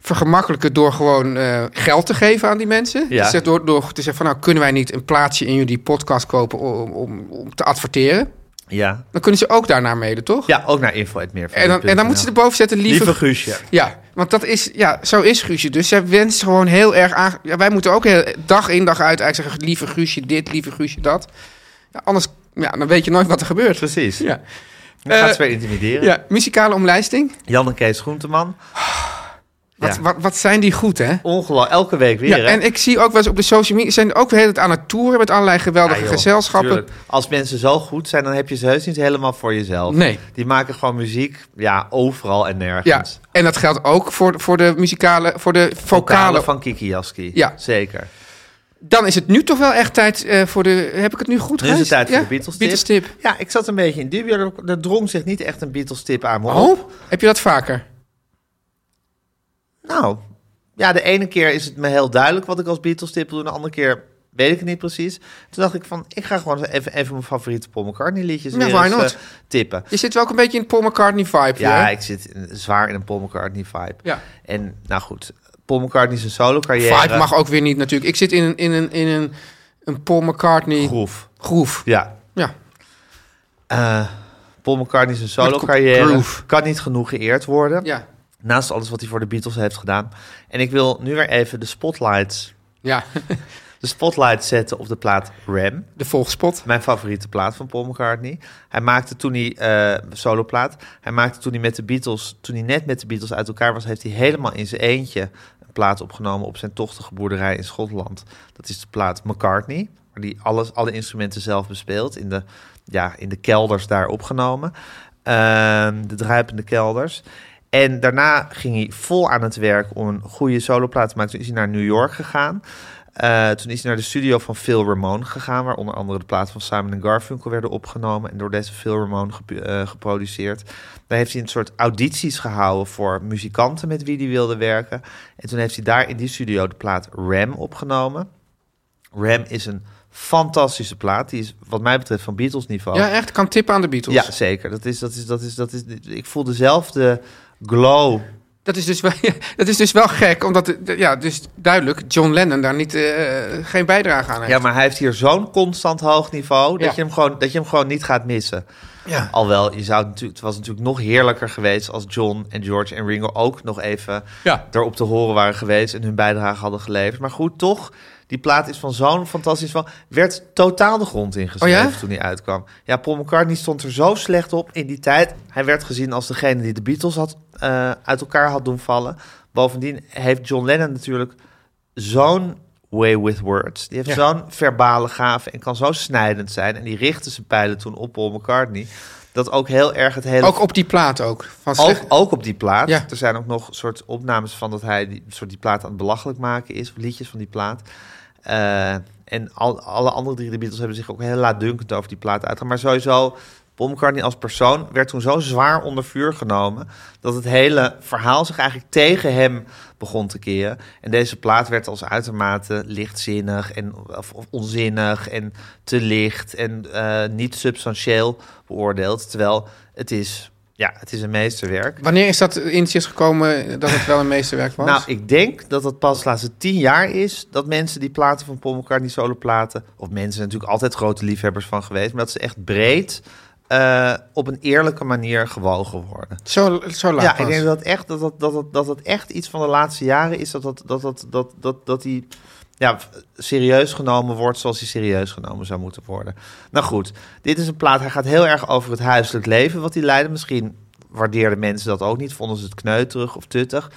Speaker 3: vergemakkelijken door gewoon eh, geld te geven aan die mensen.
Speaker 2: Ja.
Speaker 3: Dus door, door te zeggen van, nou, kunnen wij niet een plaatsje in jullie podcast kopen om, om, om te adverteren?
Speaker 2: Ja.
Speaker 3: Dan kunnen ze ook daarnaar mailen, toch?
Speaker 2: ja, ook naar info het meer.
Speaker 3: En dan, en dan moeten ze erboven zetten, lieve...
Speaker 2: Lieve, Guusje.
Speaker 3: ja, want dat is, ja, zo is Guusje. Dus zij wenst gewoon heel erg aan... Ja, wij moeten ook heel, dag in dag uit eigenlijk zeggen... lieve Guusje dit, lieve Guusje dat. Ja, anders, ja, dan weet je nooit wat er gebeurt.
Speaker 2: Precies. Ja.
Speaker 3: Ja.
Speaker 2: gaat
Speaker 3: Eh,
Speaker 2: ze weer intimideren.
Speaker 3: Ja, muzikale omlijsting.
Speaker 2: Jan en Kees Groenteman.
Speaker 3: Wat,
Speaker 2: Ja.
Speaker 3: wat, wat zijn die goed, hè?
Speaker 2: Ongelooflijk. Elke week weer.
Speaker 3: Ja,
Speaker 2: hè?
Speaker 3: en ik zie ook wel eens op de social media... zijn ook weer hele tijd aan het toeren met allerlei
Speaker 2: Ja,
Speaker 3: geweldige
Speaker 2: joh,
Speaker 3: gezelschappen.
Speaker 2: tuurlijk. Als mensen zo goed zijn, dan heb je ze heus niet helemaal voor jezelf.
Speaker 3: Nee.
Speaker 2: Die maken gewoon muziek ja, overal en
Speaker 3: Ja,
Speaker 2: nergens.
Speaker 3: en dat geldt ook voor, voor de muzikale... voor de vocale.
Speaker 2: Vocalen van Kiki Jaski.
Speaker 3: Ja.
Speaker 2: Zeker.
Speaker 3: Dan is het nu toch wel echt tijd eh, voor de... Heb ik het nu goed,
Speaker 2: Nu is het
Speaker 3: Gijs?
Speaker 2: tijd voor
Speaker 3: Ja,
Speaker 2: de Beatles-tip.
Speaker 3: Beatles-tip.
Speaker 2: Ja, ik zat een beetje in dubio. Er- Er drong zich niet echt een Beatles-tip aan me op.
Speaker 3: Oh, heb je dat vaker?
Speaker 2: Nou, ja, de ene keer is het me heel duidelijk wat ik als Beatles tip wil doen. De andere keer weet ik het niet precies. Toen dacht ik van, ik ga gewoon even, even mijn favoriete Paul McCartney liedjes
Speaker 3: Ja,
Speaker 2: weer
Speaker 3: why
Speaker 2: eens,
Speaker 3: not?
Speaker 2: eh, tippen.
Speaker 3: Je zit wel ook een beetje in Paul McCartney-vibe.
Speaker 2: Ja,
Speaker 3: hè?
Speaker 2: ik zit in- zwaar in een Paul McCartney vibe.
Speaker 3: Ja.
Speaker 2: En nou goed, Paul McCartney zijn solo carrière.
Speaker 3: Vibe mag ook weer niet natuurlijk. Ik zit in een, in een, in een, een Paul McCartney-groef.
Speaker 2: Groef. Ja.
Speaker 3: Ja,
Speaker 2: Eh, Paul McCartney zijn solo
Speaker 3: Met
Speaker 2: carrière
Speaker 3: groove.
Speaker 2: kan niet genoeg geëerd worden.
Speaker 3: ja,
Speaker 2: Naast alles wat hij voor de Beatles heeft gedaan. En ik wil nu weer even de spotlights,
Speaker 3: ja.
Speaker 2: de spotlight zetten op de plaat Ram.
Speaker 3: De volgspot.
Speaker 2: Mijn favoriete plaat van Paul McCartney. Hij maakte toen hij eh soloplaat. Hij maakte toen hij met de Beatles, toen hij net met de Beatles uit elkaar was, heeft hij helemaal in zijn eentje een plaat opgenomen op zijn tochtige boerderij in Schotland. Dat is de plaat McCartney, waar die alles, alle instrumenten zelf bespeelt in de, ja, in de kelders daar opgenomen, Ehm, de druipende kelders. En daarna ging hij vol aan het werk om een goede soloplaat te maken. Toen is hij naar New York gegaan. Eh, toen is hij naar de studio van Phil Ramone gegaan, waar onder andere de plaat van Simon en Garfunkel werden opgenomen en door deze Phil Ramone gepu- eh, geproduceerd. Daar heeft hij een soort audities gehouden voor muzikanten met wie hij wilde werken. En toen heeft hij daar in die studio de plaat Ram opgenomen. Ram is een fantastische plaat. Die is wat mij betreft van Beatles niveau.
Speaker 3: Ja, echt. Kan tippen aan de Beatles.
Speaker 2: Oh. Ja, zeker. Dat is, dat is, dat is, dat is, ik voel dezelfde glow.
Speaker 3: Dat is, dus wel, (laughs) dat is dus wel gek, omdat, het- ja, dus duidelijk, John Lennon daar niet, eh, geen bijdrage aan heeft.
Speaker 2: Ja, maar hij heeft hier zo'n constant hoog niveau dat,
Speaker 3: Ja.
Speaker 2: je hem gewoon, dat je hem gewoon niet gaat missen.
Speaker 3: Ja.
Speaker 2: Alhoewel, je zou het natuurlijk, het was natuurlijk nog heerlijker geweest als John en George en Ringo ook nog even
Speaker 3: Ja.
Speaker 2: erop te horen waren geweest en hun bijdrage hadden geleverd. Maar goed, toch, die plaat is van zo'n fantastisch van. Werd totaal de grond ingeschreven
Speaker 3: Oh ja?
Speaker 2: toen hij uitkwam. Ja, Paul McCartney stond er zo slecht op in die tijd. Hij werd gezien als degene die de Beatles had, eh, uit elkaar had doen vallen. Bovendien heeft John Lennon natuurlijk zo'n way with words. Die heeft zo'n verbale gave en kan zo snijdend zijn. En die richtte zijn pijlen toen op Paul McCartney. dat ook heel erg het hele...
Speaker 3: Ook op die plaat ook. Van
Speaker 2: Ook,
Speaker 3: slecht-
Speaker 2: ook op die plaat.
Speaker 3: Ja.
Speaker 2: Er zijn ook nog soort opnames van dat hij die, soort die plaat aan het belachelijk maken is. Liedjes van die plaat. Eh, en al, alle andere drie de Beatles hebben zich ook heel laatdunkend over die plaat uitgegaan. Maar sowieso, Paul McCartney als persoon werd toen zo zwaar onder vuur genomen... dat het hele verhaal zich eigenlijk tegen hem begon te keren. En deze plaat werd als uitermate lichtzinnig en of, of onzinnig en te licht... en eh, niet substantieel beoordeeld. Terwijl het is... Ja, het is een meesterwerk.
Speaker 3: Wanneer is dat inzicht gekomen eh, dat het wel een meesterwerk was?
Speaker 2: Nou, ik denk dat het pas de laatste tien jaar is dat mensen die platen van Paul McCartney solo platen, of mensen zijn natuurlijk altijd grote liefhebbers van geweest, maar dat ze echt breed eh, op een eerlijke manier gewogen worden.
Speaker 3: zo, zo laat
Speaker 2: Ja,
Speaker 3: pas.
Speaker 2: ik denk dat echt, dat, dat, dat, dat, dat dat echt iets van de laatste jaren is dat, dat, dat, dat, dat, dat, dat die ja, serieus genomen wordt zoals hij serieus genomen zou moeten worden. Nou goed, dit is een plaat, hij gaat heel erg over het huiselijk leven wat hij leidde. Misschien waardeerden mensen dat ook niet, vonden ze het kneuterig of tuttig.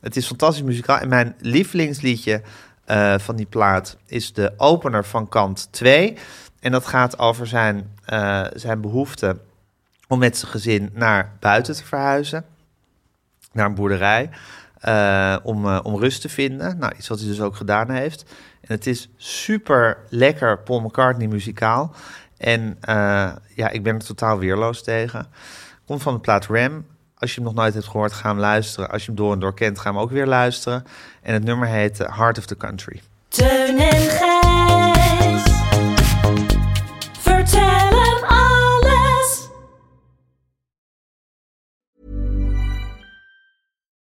Speaker 2: Het is fantastisch muzikaal en mijn lievelingsliedje eh, van die plaat is de opener van kant 2. En dat gaat over zijn, eh, zijn behoefte om met zijn gezin naar buiten te verhuizen naar een boerderij eh, om, eh, om rust te vinden. Nou, iets wat hij dus ook gedaan heeft. En het is super lekker Paul McCartney muzikaal. En eh, ja, ik ben er totaal weerloos tegen. Komt van de plaat Ram. Als je hem nog nooit hebt gehoord, ga hem luisteren. Als je hem door en door kent, ga hem ook weer luisteren. En het nummer heet eh, Heart of the Country.
Speaker 6: Teun en Gijs. Vertel hem alles.